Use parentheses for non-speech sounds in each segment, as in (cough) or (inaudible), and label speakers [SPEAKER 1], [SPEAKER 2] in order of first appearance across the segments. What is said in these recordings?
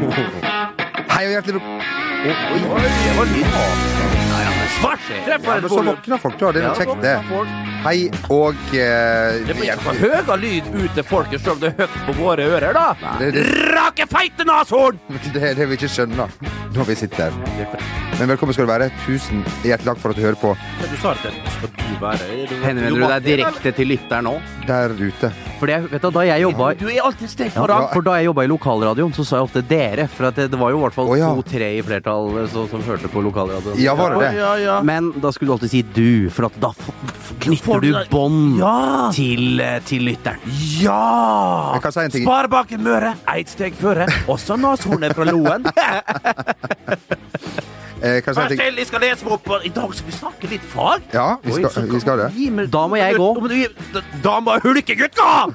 [SPEAKER 1] Hei og hjertelig velkommen
[SPEAKER 2] Oi, det var lyd nå. Svart! Treffer
[SPEAKER 1] ja,
[SPEAKER 2] et
[SPEAKER 1] men Så
[SPEAKER 2] forløp.
[SPEAKER 1] våkner folk, da. Det er
[SPEAKER 2] Ja,
[SPEAKER 1] jo kjekt, det.
[SPEAKER 2] våkner folk.
[SPEAKER 1] Hei og eh, (laughs)
[SPEAKER 2] Det blir ikke høy lyd ut til folket, selv om det er høyt på våre ører, da.
[SPEAKER 1] Det- det-
[SPEAKER 2] Rake feite nashorn!
[SPEAKER 1] Det er det vi ikke skjønner når vi sitter her. Men velkommen skal du være. Tusen hjertelig takk for at du hører på
[SPEAKER 2] Du sa at det skal du være. Er det-
[SPEAKER 3] Henvender du deg direkte til lytter nå?
[SPEAKER 1] der ute.
[SPEAKER 3] For det, vet du, da jeg jobba
[SPEAKER 2] Du er alltid steg
[SPEAKER 3] ja,
[SPEAKER 2] foran.
[SPEAKER 3] for da jeg jobbet i lokalradioen, så sa jeg ofte 'dere'. For at det, det var jo i hvert fall
[SPEAKER 1] Å, ja.
[SPEAKER 3] to-tre i flertall eh, så, som hørte på lokalradioen.
[SPEAKER 1] Ja, var det det?
[SPEAKER 2] Ja, ja.
[SPEAKER 3] Men da skulle du alltid si 'du', for at da f- f-
[SPEAKER 2] Får
[SPEAKER 3] knytter
[SPEAKER 2] du
[SPEAKER 3] du
[SPEAKER 2] deg-
[SPEAKER 3] bånd
[SPEAKER 2] Ja!
[SPEAKER 3] til, eh, til lytteren.
[SPEAKER 2] Ja!
[SPEAKER 1] Jeg kan si en ting.
[SPEAKER 2] Sparebanken Møre, ett steg føre. Også nashornet fra Loen.
[SPEAKER 1] Eh, kan jeg si
[SPEAKER 2] Vær
[SPEAKER 1] en ting?
[SPEAKER 2] stille, jeg skal lese meg opp. på- I dag skal vi snakke litt fag.
[SPEAKER 1] Ja, vi
[SPEAKER 2] Oi, så
[SPEAKER 1] skal, vi skal det.
[SPEAKER 2] Gi meg-
[SPEAKER 3] Da må jeg gå.
[SPEAKER 2] Da må du gi- da- Da må hulkegutt gå!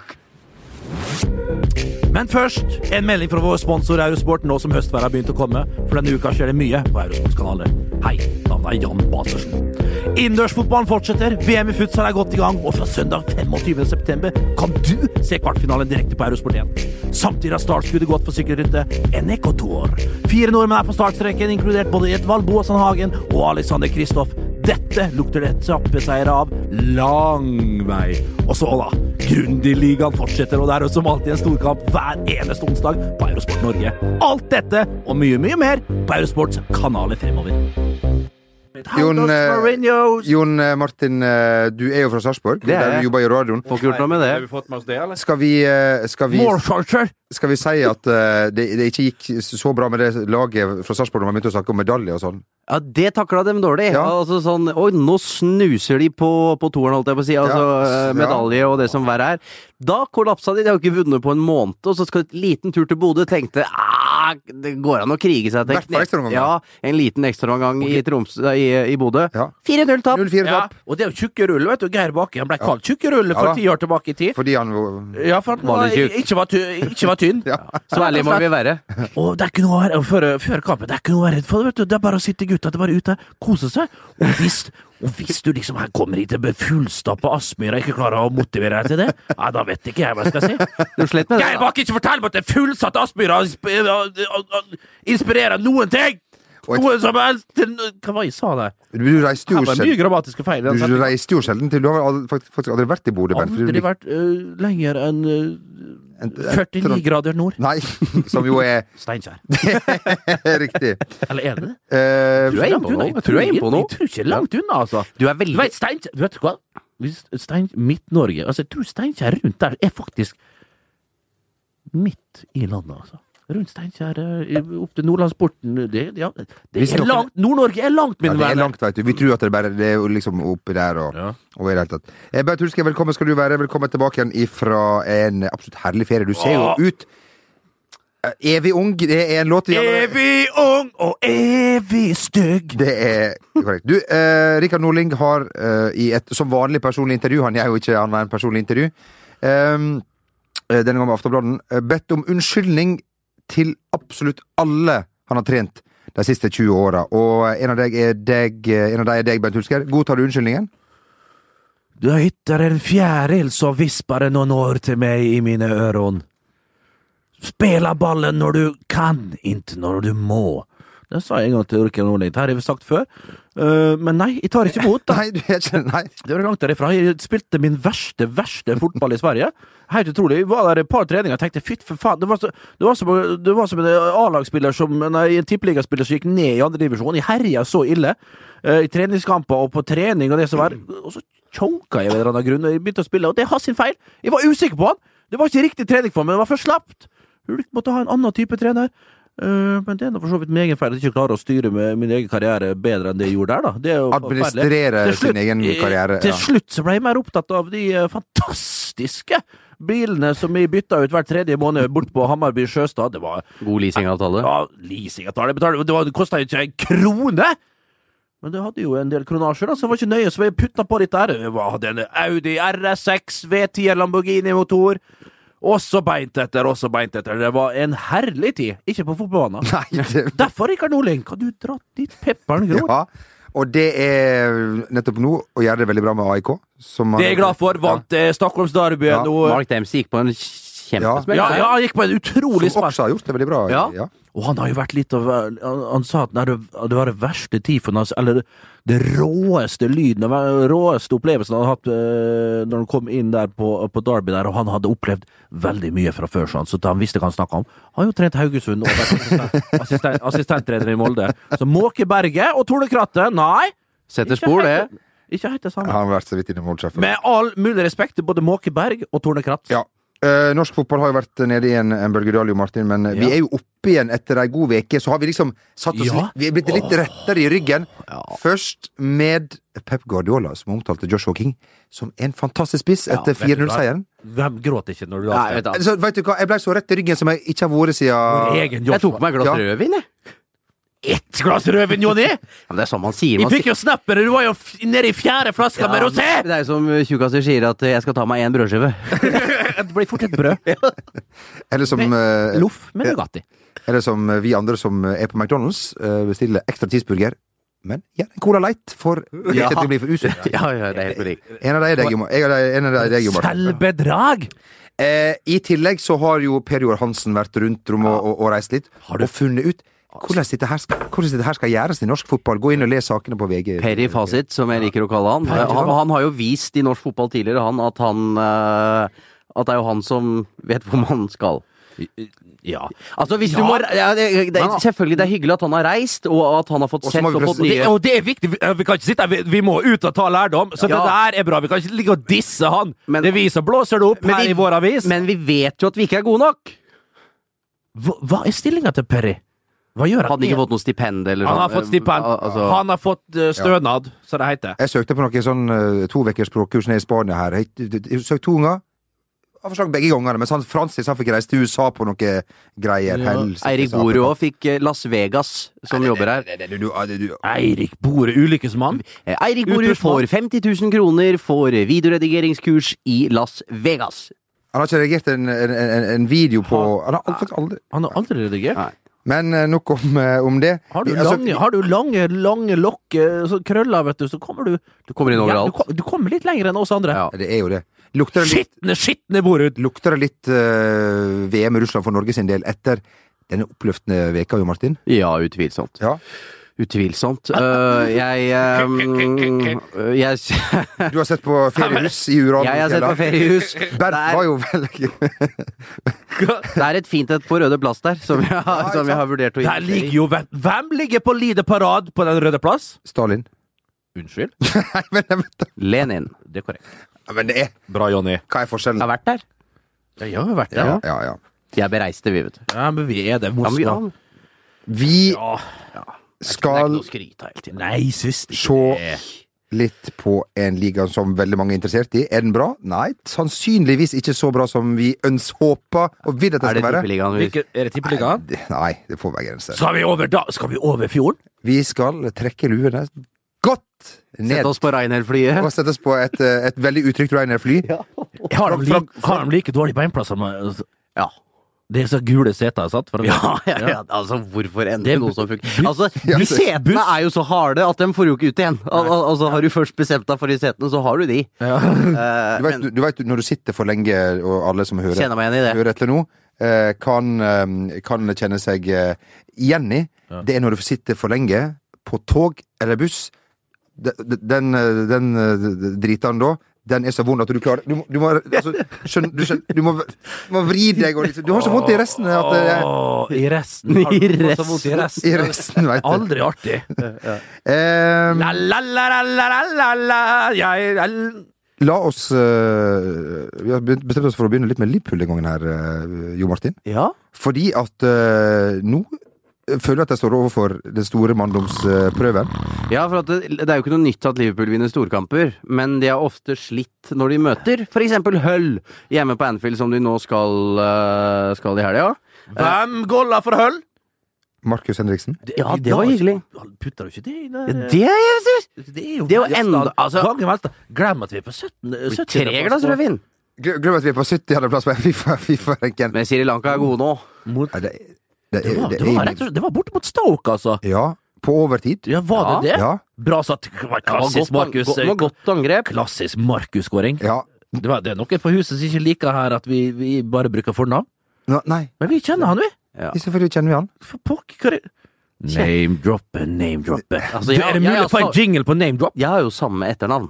[SPEAKER 2] Men først en melding fra vår sponsor Eurosport nå som høstværet har begynt å komme. For denne uka skjer det mye på Eurosports kanaler. Hei, navnet er Jan Basersen. Innendørsfotballen fortsetter, VM i futsal er godt i gang, og fra søndag 25.9 kan du se kvartfinalen direkte på Eurosport 1. Samtidig har startskuddet gått for sykkelryttet Eneco Tour. Fire nordmenn er på startstreken, inkludert både Edvald Boasson Hagen og Alexander Kristoff. Dette lukter det trappeseier av lang vei. Og så, da. Grundig-ligaen fortsetter, og det er jo som alltid en storkamp hver eneste onsdag på Eurosport Norge. Alt dette og mye, mye mer på Eurosports kanaler fremover.
[SPEAKER 1] Jon,
[SPEAKER 2] Houndogs
[SPEAKER 1] eh,
[SPEAKER 2] Mourinho's.
[SPEAKER 1] Jon eh, Martin, eh, du er jo fra Sarpsborg,
[SPEAKER 3] Det er
[SPEAKER 1] der
[SPEAKER 3] jeg.
[SPEAKER 1] du jobber i radioen.
[SPEAKER 3] Får ikke gjort noe med det.
[SPEAKER 1] Skal vi, eh, skal vi,
[SPEAKER 2] More culture.
[SPEAKER 1] skal vi si at eh, det, det ikke gikk så bra med det laget fra Sarpsborg når man begynte å snakke om medalje og sånn?
[SPEAKER 3] Ja, det takla dem dårlig.
[SPEAKER 1] Ja.
[SPEAKER 3] Altså sånn, Oi, nå snuser de på, på toeren, holdt jeg på å si. Altså
[SPEAKER 1] Ja.
[SPEAKER 3] eh, medalje og det som verre er. Da kollapsa de. De har jo ikke vunnet på en måned. Og så skal de et liten tur til Bodø. Tenkte ah, det går an å krige seg.
[SPEAKER 1] Hvert fall ekstraomgang, da.
[SPEAKER 3] ja, en liten ekstraomgang i, Troms- eh, i, i Bodø.
[SPEAKER 1] Ja.
[SPEAKER 3] 4-0 tap.
[SPEAKER 1] 0-4
[SPEAKER 2] Ja,
[SPEAKER 1] tap
[SPEAKER 2] og det er jo tjukke ruller, vet du. Geir Bakke han ble kalt tjukke ruller
[SPEAKER 1] Ja
[SPEAKER 2] for
[SPEAKER 1] da.
[SPEAKER 2] ti år tilbake i tid.
[SPEAKER 1] fordi han
[SPEAKER 2] Ja, for han
[SPEAKER 3] Var
[SPEAKER 2] var,
[SPEAKER 3] det tjukk?
[SPEAKER 2] ikke, var ty ikke var tynn.
[SPEAKER 1] (laughs) Ja.
[SPEAKER 3] Så ærlige må vi være.
[SPEAKER 2] Og det er ikke noe å være før, før kampen, det er ikke noe å være redd for. Vet du. Det er bare å sitte gutta det er bare ute, kose seg. Og hvis, og hvis du liksom her kommer hit til fullstappa Aspmyra ikke klarer å motivere deg til det, ja, da vet ikke jeg hva jeg skal si.
[SPEAKER 3] Du slett med det.
[SPEAKER 2] Geir Bakke, ikke fortell meg at det er fullsatt Aspmyra og insp- og- og- og inspirerer noen ting!
[SPEAKER 1] Og et-
[SPEAKER 2] Noe som helst til Hva var det jeg sa der?
[SPEAKER 1] Du reiste
[SPEAKER 2] Det
[SPEAKER 1] jo
[SPEAKER 2] var mye
[SPEAKER 1] sjelden
[SPEAKER 2] grammatiske feil. i den
[SPEAKER 1] Du
[SPEAKER 2] setningen.
[SPEAKER 1] reiste jo sjelden til Du har vel aldri- faktisk faktisk aldri vært i Bodø, Bent? fordi du
[SPEAKER 2] Aldri
[SPEAKER 1] lik-
[SPEAKER 2] vært øh, lenger enn øh,
[SPEAKER 1] en- en-
[SPEAKER 2] 49 grader nord.
[SPEAKER 1] Nei, (laughs) som
[SPEAKER 2] (laughs)
[SPEAKER 1] jo er (laughs)
[SPEAKER 2] Steinkjer.
[SPEAKER 1] riktig.
[SPEAKER 2] Eller er det det?
[SPEAKER 1] Eh,
[SPEAKER 3] Du er inne på noe. Jeg tror jeg er inne på noe.
[SPEAKER 2] Jeg tror ikke det er langt unna, altså.
[SPEAKER 3] Du er
[SPEAKER 2] Du
[SPEAKER 3] veldig
[SPEAKER 2] vet, Stein, du vet hva? Hvis Stein, Midt-Norge altså Jeg tror Steinkjer rundt der er faktisk midt i landet, altså. Rundt Steinkjer, eh, opp til Nordlandsporten det, ja, det
[SPEAKER 1] Hvis
[SPEAKER 2] er
[SPEAKER 1] dere-
[SPEAKER 2] langt, Nord-Norge er langt,
[SPEAKER 1] ja,
[SPEAKER 2] mine
[SPEAKER 1] det er
[SPEAKER 2] venner!
[SPEAKER 1] langt, veit du. Vi tror at det er bare det er jo liksom oppi der og,
[SPEAKER 2] Ja.
[SPEAKER 1] og i det hele tatt. Eh, Bernt Hulske, velkommen skal du være. Velkommen tilbake igjen ifra en absolutt herlig ferie. Du ser jo
[SPEAKER 2] Åh.
[SPEAKER 1] ut eh, Evig ung, det er en låt vi allerede-
[SPEAKER 2] Evig ung og evig stygg!
[SPEAKER 1] Det er korrekt. Du, eh, Rikard Norling har eh, i et som vanlig personlig intervju Han er jo ikke annet enn personlig intervju. ehm, eh, denne gangen med Aftonbladet. eh, Bedt om unnskyldning til absolutt alle han har trent de siste 20 åra. Og eh, en av deg er deg, eh, en av de er deg Bent Hulsker. Godtar du unnskyldningen?
[SPEAKER 2] Du er ytter en fjæril som visper noen år til meg i mine øron. Spela ballen når du kan, ikke når du må. Det sa jeg en gang til Rikard Nordling. Det her har vi sagt før. Eh, men nei, jeg tar ikke imot. da.
[SPEAKER 1] Nei, du er ikke Nei.
[SPEAKER 2] Det var langt derifra. Jeg spilte min verste, verste fotball i Sverige. Helt utrolig. Jeg var der et par treninger og tenkte fytt for faen. Det var, så, det var, som, det var som en A-lagsspiller som Nei, en tippeligaspiller som gikk ned i andre divisjon. Jeg herja så ille eh, i treningskamper og på trening og det som var. Og så chonka jeg av en eller annen grunn, og jeg begynte å spille, og det er hans sin feil! Jeg var usikker på han! Det var ikke riktig trening for meg, det var for slapt! Hulk måtte ha en annen type trener. Eh, men det er nå for så vidt min egen feil at jeg ikke klarer å styre med min egen karriere bedre enn det jeg gjorde der, da. Det er jo forferdelig.
[SPEAKER 1] Administrere
[SPEAKER 2] Til
[SPEAKER 1] sin
[SPEAKER 2] slutt-
[SPEAKER 1] egen
[SPEAKER 2] eh,
[SPEAKER 1] karriere.
[SPEAKER 2] Til
[SPEAKER 1] Ja.
[SPEAKER 2] slutt så ble jeg mer opptatt av de eh, fantastiske bilene som vi bytta ut hver tredje måned bort på Hammarby Sjøstad. Det var
[SPEAKER 3] god leasingavtale.
[SPEAKER 2] ja, leasing jeg tar det betaler, det, var- det kosta jo ikke en krone! Men det hadde jo en del kronasjer, da, så det var ikke nøye, så jeg putta på litt der. Jeg hadde en Audi RS6, V10 Lamborghini-motor. Også beint etter, også beint etter. Det var en herlig tid. Ikke på fotballbanen.
[SPEAKER 1] (laughs) Nei, det
[SPEAKER 2] Derfor, Rikard Norling, kan du dra dit pepperen gror?
[SPEAKER 1] Ja. Og det er nettopp nå å gjøre det veldig bra med AIK. som han-
[SPEAKER 2] Det er jeg glad for. Vant eh, Stockholms Derby
[SPEAKER 1] Ja,
[SPEAKER 2] nå.
[SPEAKER 3] Mark Dempsey gikk på en kjempesmell.
[SPEAKER 2] Ja, ja, han gikk på en utrolig
[SPEAKER 1] Som
[SPEAKER 2] smell.
[SPEAKER 1] også har gjort det veldig bra.
[SPEAKER 3] Ja.
[SPEAKER 2] Og han har jo vært litt av han, han sa at nei, det det var det verste tiden hans Eller det, det råeste lyden, den råeste opplevelsen han hadde hatt eh, når han kom inn der på, på Derby der, og han hadde opplevd veldig mye fra før, så han, så han visste hva han snakka om. Han har jo trent Haugesund og vært assistent- assistent- assistenttrener i Molde. Så Måke Berget og Tone Krattet, nei!
[SPEAKER 3] Setter
[SPEAKER 2] ikke
[SPEAKER 3] spor,
[SPEAKER 2] helt-
[SPEAKER 3] det.
[SPEAKER 2] Ikke helt det
[SPEAKER 1] Han
[SPEAKER 2] samme.
[SPEAKER 1] har vært så vidt innom Moldsjefen.
[SPEAKER 2] Med all mulig respekt til både Måke Berg og Tone Kratt.
[SPEAKER 1] Ja. Eh, norsk fotball har jo vært nede i en, en bølgedal, jo, Martin, men vi er jo oppe igjen etter ei god uke. Så har vi liksom satt oss
[SPEAKER 2] Ja.
[SPEAKER 1] litt Vi er blitt litt rettere i ryggen. Først med Pep Guardiola, som omtalte Joshua King som en fantastisk spiss etter
[SPEAKER 2] vet du hva?
[SPEAKER 1] 4-0-seieren.
[SPEAKER 2] Hvem gråter ikke når du
[SPEAKER 3] Nei,
[SPEAKER 2] laster?
[SPEAKER 3] vet du hva.
[SPEAKER 1] Så vet du hva, Jeg ble så rett i ryggen som jeg ikke har vært
[SPEAKER 2] Vår
[SPEAKER 1] siden
[SPEAKER 2] egen
[SPEAKER 3] Jeg tok
[SPEAKER 2] Joshua.
[SPEAKER 3] meg et glass
[SPEAKER 1] Ja.
[SPEAKER 3] rødvin, jeg.
[SPEAKER 2] Ett glass rødvin, Jonny!
[SPEAKER 3] Ja, men det er sånn man sier.
[SPEAKER 2] Vi
[SPEAKER 3] Man
[SPEAKER 2] fikk jo snappere, du var jo f- nede i fjerde flaska med rosé!
[SPEAKER 3] men Det er jo som tjukkaser sier at eh, jeg skal ta meg en brødskive.
[SPEAKER 2] Det blir fort et brød.
[SPEAKER 1] Eller som, eh,
[SPEAKER 2] Loff med Nugatti.
[SPEAKER 1] eller som vi andre som er på McDonald's, eh, bestiller ekstra cheeseburger. Men gjerne en Cola Light, for
[SPEAKER 3] Ja.
[SPEAKER 1] ikke til å bli for usunn.
[SPEAKER 3] Ja, ja, det er helt korrekt.
[SPEAKER 1] En av de er deg, Jo Mar- jeg og de- en av de er deg, Jo Martin.
[SPEAKER 2] Selvbedrag!
[SPEAKER 1] Eh, I tillegg så har jo Per Joar Hansen vært rundt om og, og, og reist litt,
[SPEAKER 2] Har du-
[SPEAKER 1] og funnet ut hvordan dette, her skal, hvordan dette her skal gjøres i norsk fotball. Gå inn og les sakene på VG.
[SPEAKER 3] Perry Fasit, som jeg liker å kalle han.
[SPEAKER 1] Perry,
[SPEAKER 3] Han,
[SPEAKER 1] ja.
[SPEAKER 3] han har jo vist i norsk fotball tidligere han, at han eh, At det er jo han som vet hvor man skal.
[SPEAKER 2] Ja.
[SPEAKER 3] Altså hvis
[SPEAKER 2] Ja.
[SPEAKER 3] du må re- ja, det, det,
[SPEAKER 2] Men da-
[SPEAKER 3] Selvfølgelig, det er hyggelig at han har reist, og at han har fått
[SPEAKER 1] Og så
[SPEAKER 3] sett
[SPEAKER 1] må vi
[SPEAKER 3] og fått
[SPEAKER 1] presi-
[SPEAKER 2] Det,
[SPEAKER 3] nye
[SPEAKER 2] og det er viktig. Vi, vi kan ikke sitte her. Vi, vi må ut og ta lærdom. Så
[SPEAKER 3] Ja.
[SPEAKER 2] det der er bra. Vi kan ikke ligge og disse han.
[SPEAKER 3] Men-
[SPEAKER 2] det er vi som blåser det opp
[SPEAKER 3] Men
[SPEAKER 2] her
[SPEAKER 3] vi-
[SPEAKER 2] i vår avis.
[SPEAKER 3] Men vi vet jo at vi ikke er gode nok!
[SPEAKER 2] hva, hva er stillinga til Perry? Hva gjør han?
[SPEAKER 3] Hadde ikke fått noe stipend eller
[SPEAKER 2] han har
[SPEAKER 3] sånn,
[SPEAKER 2] fått stipend.
[SPEAKER 3] eh, Altså,
[SPEAKER 2] Han har fått eh, stønad, som det heter.
[SPEAKER 1] Jeg søkte på noen sånn uh, tovekers språkkurs nede i Spania her. Jeg, jeg, jeg søkte to ganger. Jeg har forslag begge gangene, mens han Francis han fikk reist til USA på noe greier. Helsike,
[SPEAKER 3] Eirik
[SPEAKER 1] sa han.
[SPEAKER 3] Borud òg fikk eh, Las Vegas, som jobber her.
[SPEAKER 1] Nei, nei, du- ah, du- du- du-
[SPEAKER 2] Eirik Bore, ulykkesmann.
[SPEAKER 3] Eh, Eirik Borud
[SPEAKER 2] Utrustmann.
[SPEAKER 3] får 50 000 kroner for eh, videoredigeringskurs i Las Vegas.
[SPEAKER 1] Han har ikke reagert en, en, en, en video på Han har faktisk aldri
[SPEAKER 2] Han har aldri redigert.
[SPEAKER 3] Nei.
[SPEAKER 1] Men eh, nok om, eh, om det.
[SPEAKER 2] Har du,
[SPEAKER 1] Vi- altså,
[SPEAKER 2] lange, har du lange, lange lokk, eh, så krøller, vet du, så kommer du
[SPEAKER 3] Du kommer inn
[SPEAKER 2] ja, du,
[SPEAKER 3] overalt.
[SPEAKER 2] kom- du kommer litt lenger enn oss andre.
[SPEAKER 3] Ja.
[SPEAKER 1] Det er jo det. Lukter det litt
[SPEAKER 2] Skitne, skitne Borud!
[SPEAKER 1] Lukter det litt eh, VM i Russland for Norge sin del etter denne oppløftende veka, jo, Martin?
[SPEAKER 3] Ja, utvilsomt.
[SPEAKER 1] Ja. (laughs)
[SPEAKER 3] Utvilsomt. Øh, jeg ehm, øh, (laughs) Jeg,
[SPEAKER 1] Du har sett på feriehus i Uran?
[SPEAKER 3] jeg har sett
[SPEAKER 1] (laughs)
[SPEAKER 3] på feriehus.
[SPEAKER 1] Bernt
[SPEAKER 3] Der.
[SPEAKER 1] var jo veldig
[SPEAKER 3] Det er et fint et på Røde Plass der, som jeg, har- som jeg har vurdert å
[SPEAKER 2] Der
[SPEAKER 3] investere
[SPEAKER 2] ligger jo hvem, hvem ligger på Lide Parad på Den røde plass?
[SPEAKER 1] (laughs) Stalin.
[SPEAKER 2] Unnskyld?
[SPEAKER 1] Nei, men, jeg vet da-
[SPEAKER 3] Lenin.
[SPEAKER 2] Det er korrekt.
[SPEAKER 1] Ja, men det er
[SPEAKER 2] Bra, Jonny.
[SPEAKER 1] Hva er
[SPEAKER 3] Jeg
[SPEAKER 1] forskjellen?
[SPEAKER 3] har vært der.
[SPEAKER 2] Ja, jeg har vært
[SPEAKER 1] Ja,
[SPEAKER 2] der. Ja.
[SPEAKER 1] ja, ja.
[SPEAKER 3] Jeg bereiste, vi, vet du.
[SPEAKER 2] men vi er det.
[SPEAKER 3] Ja, men, ja.
[SPEAKER 2] Moskva.
[SPEAKER 3] Det
[SPEAKER 1] Vi
[SPEAKER 3] er ikke
[SPEAKER 1] skal
[SPEAKER 3] noe å skryte av hele tiden.
[SPEAKER 2] Nei, sist
[SPEAKER 1] se litt på en liga som veldig mange er interessert i. Er den bra? Nei, sannsynligvis ikke så bra som vi ønsker, håper og vil at den
[SPEAKER 3] Er det
[SPEAKER 1] skal være.
[SPEAKER 3] Tippeligaen vi
[SPEAKER 2] Hvilke, Er det Tippeligaen?
[SPEAKER 1] Det- Nei, det får være grenser.
[SPEAKER 2] Skal vi over da? Skal vi over fjorden?
[SPEAKER 1] Vi skal trekke luene godt ned
[SPEAKER 3] Sette oss på Ryanair-flyet?
[SPEAKER 1] og sette oss på et, eh, et veldig utrygt Ryanair-fly.
[SPEAKER 2] Har de, like, har de like dårlige beinplass som
[SPEAKER 3] Ja.
[SPEAKER 2] Det er så gule seter, sant? For-
[SPEAKER 3] Ja, ja, ja, altså hvorfor endre
[SPEAKER 2] Det-
[SPEAKER 3] noe som funker? Altså, de
[SPEAKER 1] buss-
[SPEAKER 3] setene er jo så harde at dem får jo ikke ut igjen. Al al altså, har du først bestemt deg for de setene, så har du de. Eh,
[SPEAKER 1] Du vet, du, du vet når du sitter for lenge, og alle som hører,
[SPEAKER 3] Kjenner meg igjen i det.
[SPEAKER 1] hører etter nå, eh, kan, eh, kan kjenne seg eh, igjen i, det er når du sitter for lenge på tog eller buss. De- de- Den, eh, den, eh, dritaen da, den er så vond at du klarer Du, må- du må altså, skjønn, du, skjønn, du, må, du må vri deg og liksom Du har så vondt i resten at det er
[SPEAKER 2] Åh, I resten. Har du fått så vondt I resten.
[SPEAKER 1] I resten, veit du.
[SPEAKER 2] Aldri artig.
[SPEAKER 1] Eh,
[SPEAKER 2] La, la, la, la, la, la, la, la. Jeg, jeg,
[SPEAKER 1] la oss eh, Vi har begynt- bestemt oss for å begynne litt med Liverpool den gangen her, eh, Jo Martin.
[SPEAKER 3] ja.
[SPEAKER 1] Fordi at eh, nå føler jeg at jeg står overfor den store manndomsprøven.
[SPEAKER 3] Ja, for at det, det er jo ikke noe nytt at Liverpool vinner storkamper, men de har ofte slitt når de møter f.eks. Hull hjemme på Anfield, som de nå skal, øh, skal i helga.
[SPEAKER 2] hvem golla for høll?
[SPEAKER 1] Markus Henriksen.
[SPEAKER 3] Ja, det var hyggelig.
[SPEAKER 2] Putter du ikke det i
[SPEAKER 3] Ja,
[SPEAKER 2] der?
[SPEAKER 3] det er jo
[SPEAKER 2] Det er jo
[SPEAKER 3] Det er jo enda- altså-
[SPEAKER 2] Gangen velta. Glem at vi er på 17.
[SPEAKER 3] Tre glass rødvin!
[SPEAKER 1] Glem glem at vi er på 70.-plass på FIFA- Fifa-renken.
[SPEAKER 3] Men Sri Lanka er gode nå.
[SPEAKER 2] Mot,
[SPEAKER 1] Nei, det, det,
[SPEAKER 2] det, var,
[SPEAKER 1] det,
[SPEAKER 2] det, var rett og slett, det var borte mot Stoke, altså.
[SPEAKER 1] Ja. På overtid.
[SPEAKER 2] Ja, var det det?
[SPEAKER 1] Ja.
[SPEAKER 2] Bra satt.
[SPEAKER 3] Det var
[SPEAKER 2] Klassisk
[SPEAKER 3] godt,
[SPEAKER 2] Markus.
[SPEAKER 3] eh, det var godt angrep.
[SPEAKER 2] Klassisk Markus-skåring.
[SPEAKER 1] ja.
[SPEAKER 2] Det, var, det er noen på huset som ikke liker her at vi, vi bare bruker fornavn.
[SPEAKER 1] Nå, nei,
[SPEAKER 2] Men vi kjenner han, vi.
[SPEAKER 1] selvfølgelig kjenner vi han.
[SPEAKER 2] For pokker, hva er det? Eh, Name-droppe, name-droppe.
[SPEAKER 3] Altså,
[SPEAKER 2] Du,
[SPEAKER 3] jeg-
[SPEAKER 2] Er det
[SPEAKER 3] jeg
[SPEAKER 2] mulig
[SPEAKER 3] har
[SPEAKER 2] å få en
[SPEAKER 3] sa-
[SPEAKER 2] jingle på name-drop?
[SPEAKER 3] Jeg har jo samme etternavn,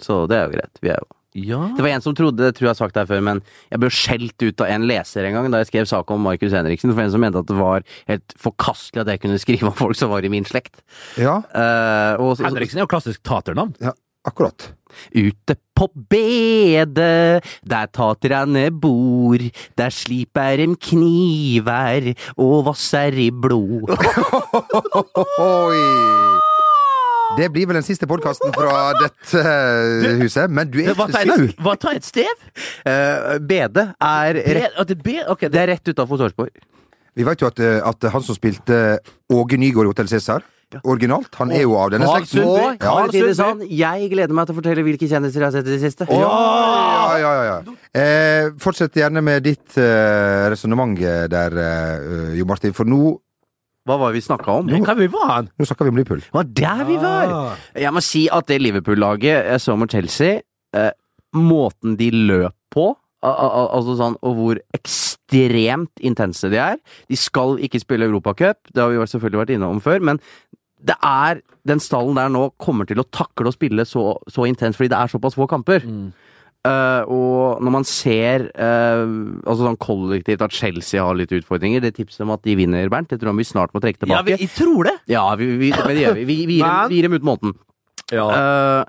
[SPEAKER 3] så det er jo greit. Vi er jo
[SPEAKER 2] Ja.
[SPEAKER 3] Det var en som trodde, det tror jeg har sagt det her før, men jeg ble skjelt ut av en leser en gang da jeg skrev sak om Markus Henriksen. For en som mente at det var helt forkastelig at jeg kunne skrive om folk som var i min slekt.
[SPEAKER 1] Ja,
[SPEAKER 3] Eh, og så-
[SPEAKER 2] Henriksen er jo klassisk taternavn.
[SPEAKER 1] ja akkurat.
[SPEAKER 3] Ute på bedet, der taterne bor, der slip er en kniver og vass er i blod.
[SPEAKER 1] Oi! Det blir vel den siste podkasten fra dette eh, huset, men du er
[SPEAKER 2] Hva
[SPEAKER 1] ikke
[SPEAKER 2] tar
[SPEAKER 1] snau.
[SPEAKER 2] et, hva tar et stev?
[SPEAKER 3] Eh, bedet er rett,
[SPEAKER 2] Be- at det be- ok,
[SPEAKER 3] det
[SPEAKER 2] det,
[SPEAKER 3] er rett utafor Sarpsborg.
[SPEAKER 1] Vi vet jo at, eh, at han som spilte Åge Nygård i Hotell Cæsar, originalt, han er jo av denne
[SPEAKER 2] Karl
[SPEAKER 1] slekten.
[SPEAKER 2] Sundby.
[SPEAKER 1] Ja.
[SPEAKER 3] Karl
[SPEAKER 2] Sundby.
[SPEAKER 3] Sundby. sånn. Jeg gleder meg til å fortelle hvilke kjendiser jeg har sett i det siste.
[SPEAKER 1] Ja, ja, ja, ja. Eh, fortsett gjerne med ditt eh, resonnement der, eh, Jo Martin, for nå,
[SPEAKER 3] Hva var det vi snakka om?
[SPEAKER 2] det kan vi være han.
[SPEAKER 1] nå snakker vi om Liverpool.
[SPEAKER 3] Det var der vi var!
[SPEAKER 2] Ah.
[SPEAKER 3] Jeg må si at det Liverpool-laget jeg så mot Chelsea, eh, måten de løp på al- al- al- Altså sånn, Og hvor ekstremt intense de er. De skal ikke spille Europacup, det har vi jo selvfølgelig vært innom før, men det er, den stallen der nå kommer til å takle å spille så, så intenst fordi det er såpass få kamper. Eh, og når man ser eh, altså sånn kollektivt at Chelsea har litt utfordringer, det tipset om at de vinner, Bernt, det tror jeg vi snart må trekke
[SPEAKER 2] Ja,
[SPEAKER 3] tilbake.
[SPEAKER 2] vi, jeg tror det.
[SPEAKER 3] Ja, vi, vi, men det gjør vi. Vi, vi, gir,
[SPEAKER 2] Men-
[SPEAKER 3] dem- vi gir dem ut måneden. Eh,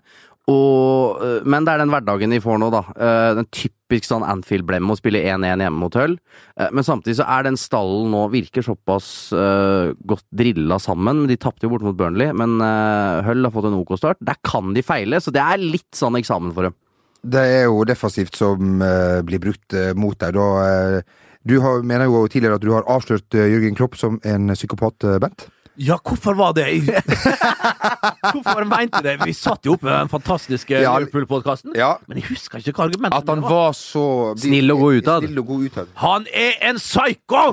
[SPEAKER 3] og, eh, men det er den hverdagen de får nå, da. Eh, den typisk sånn Anfield-blemmen å spille 1-1 hjemme mot Hull. Eh, men samtidig så er den stallen nå virker såpass eh, godt drilla sammen. De tapte jo borte mot Burnley, men eh, Hull har fått en OK start. Der kan de feile, så det er litt sånn eksamen for dem.
[SPEAKER 1] Det er jo defensivt som eh, blir brukt eh, mot deg. Da, eh, du har, mener jo tidligere at du har avslørt eh, Jørgen Klopp som en psykopat, eh, Bent.
[SPEAKER 2] Ja, hvorfor var det (laughs) Hvorfor mente det? Vi satt jo oppe med den fantastiske
[SPEAKER 1] Ja.
[SPEAKER 2] Liverpool-podkasten,
[SPEAKER 1] Ja.
[SPEAKER 2] men jeg husker ikke hva argumentet
[SPEAKER 1] At han
[SPEAKER 2] var.
[SPEAKER 1] var så
[SPEAKER 3] Snill og god utad.
[SPEAKER 1] Snill og god utad.
[SPEAKER 2] Han er en (laughs) psyko!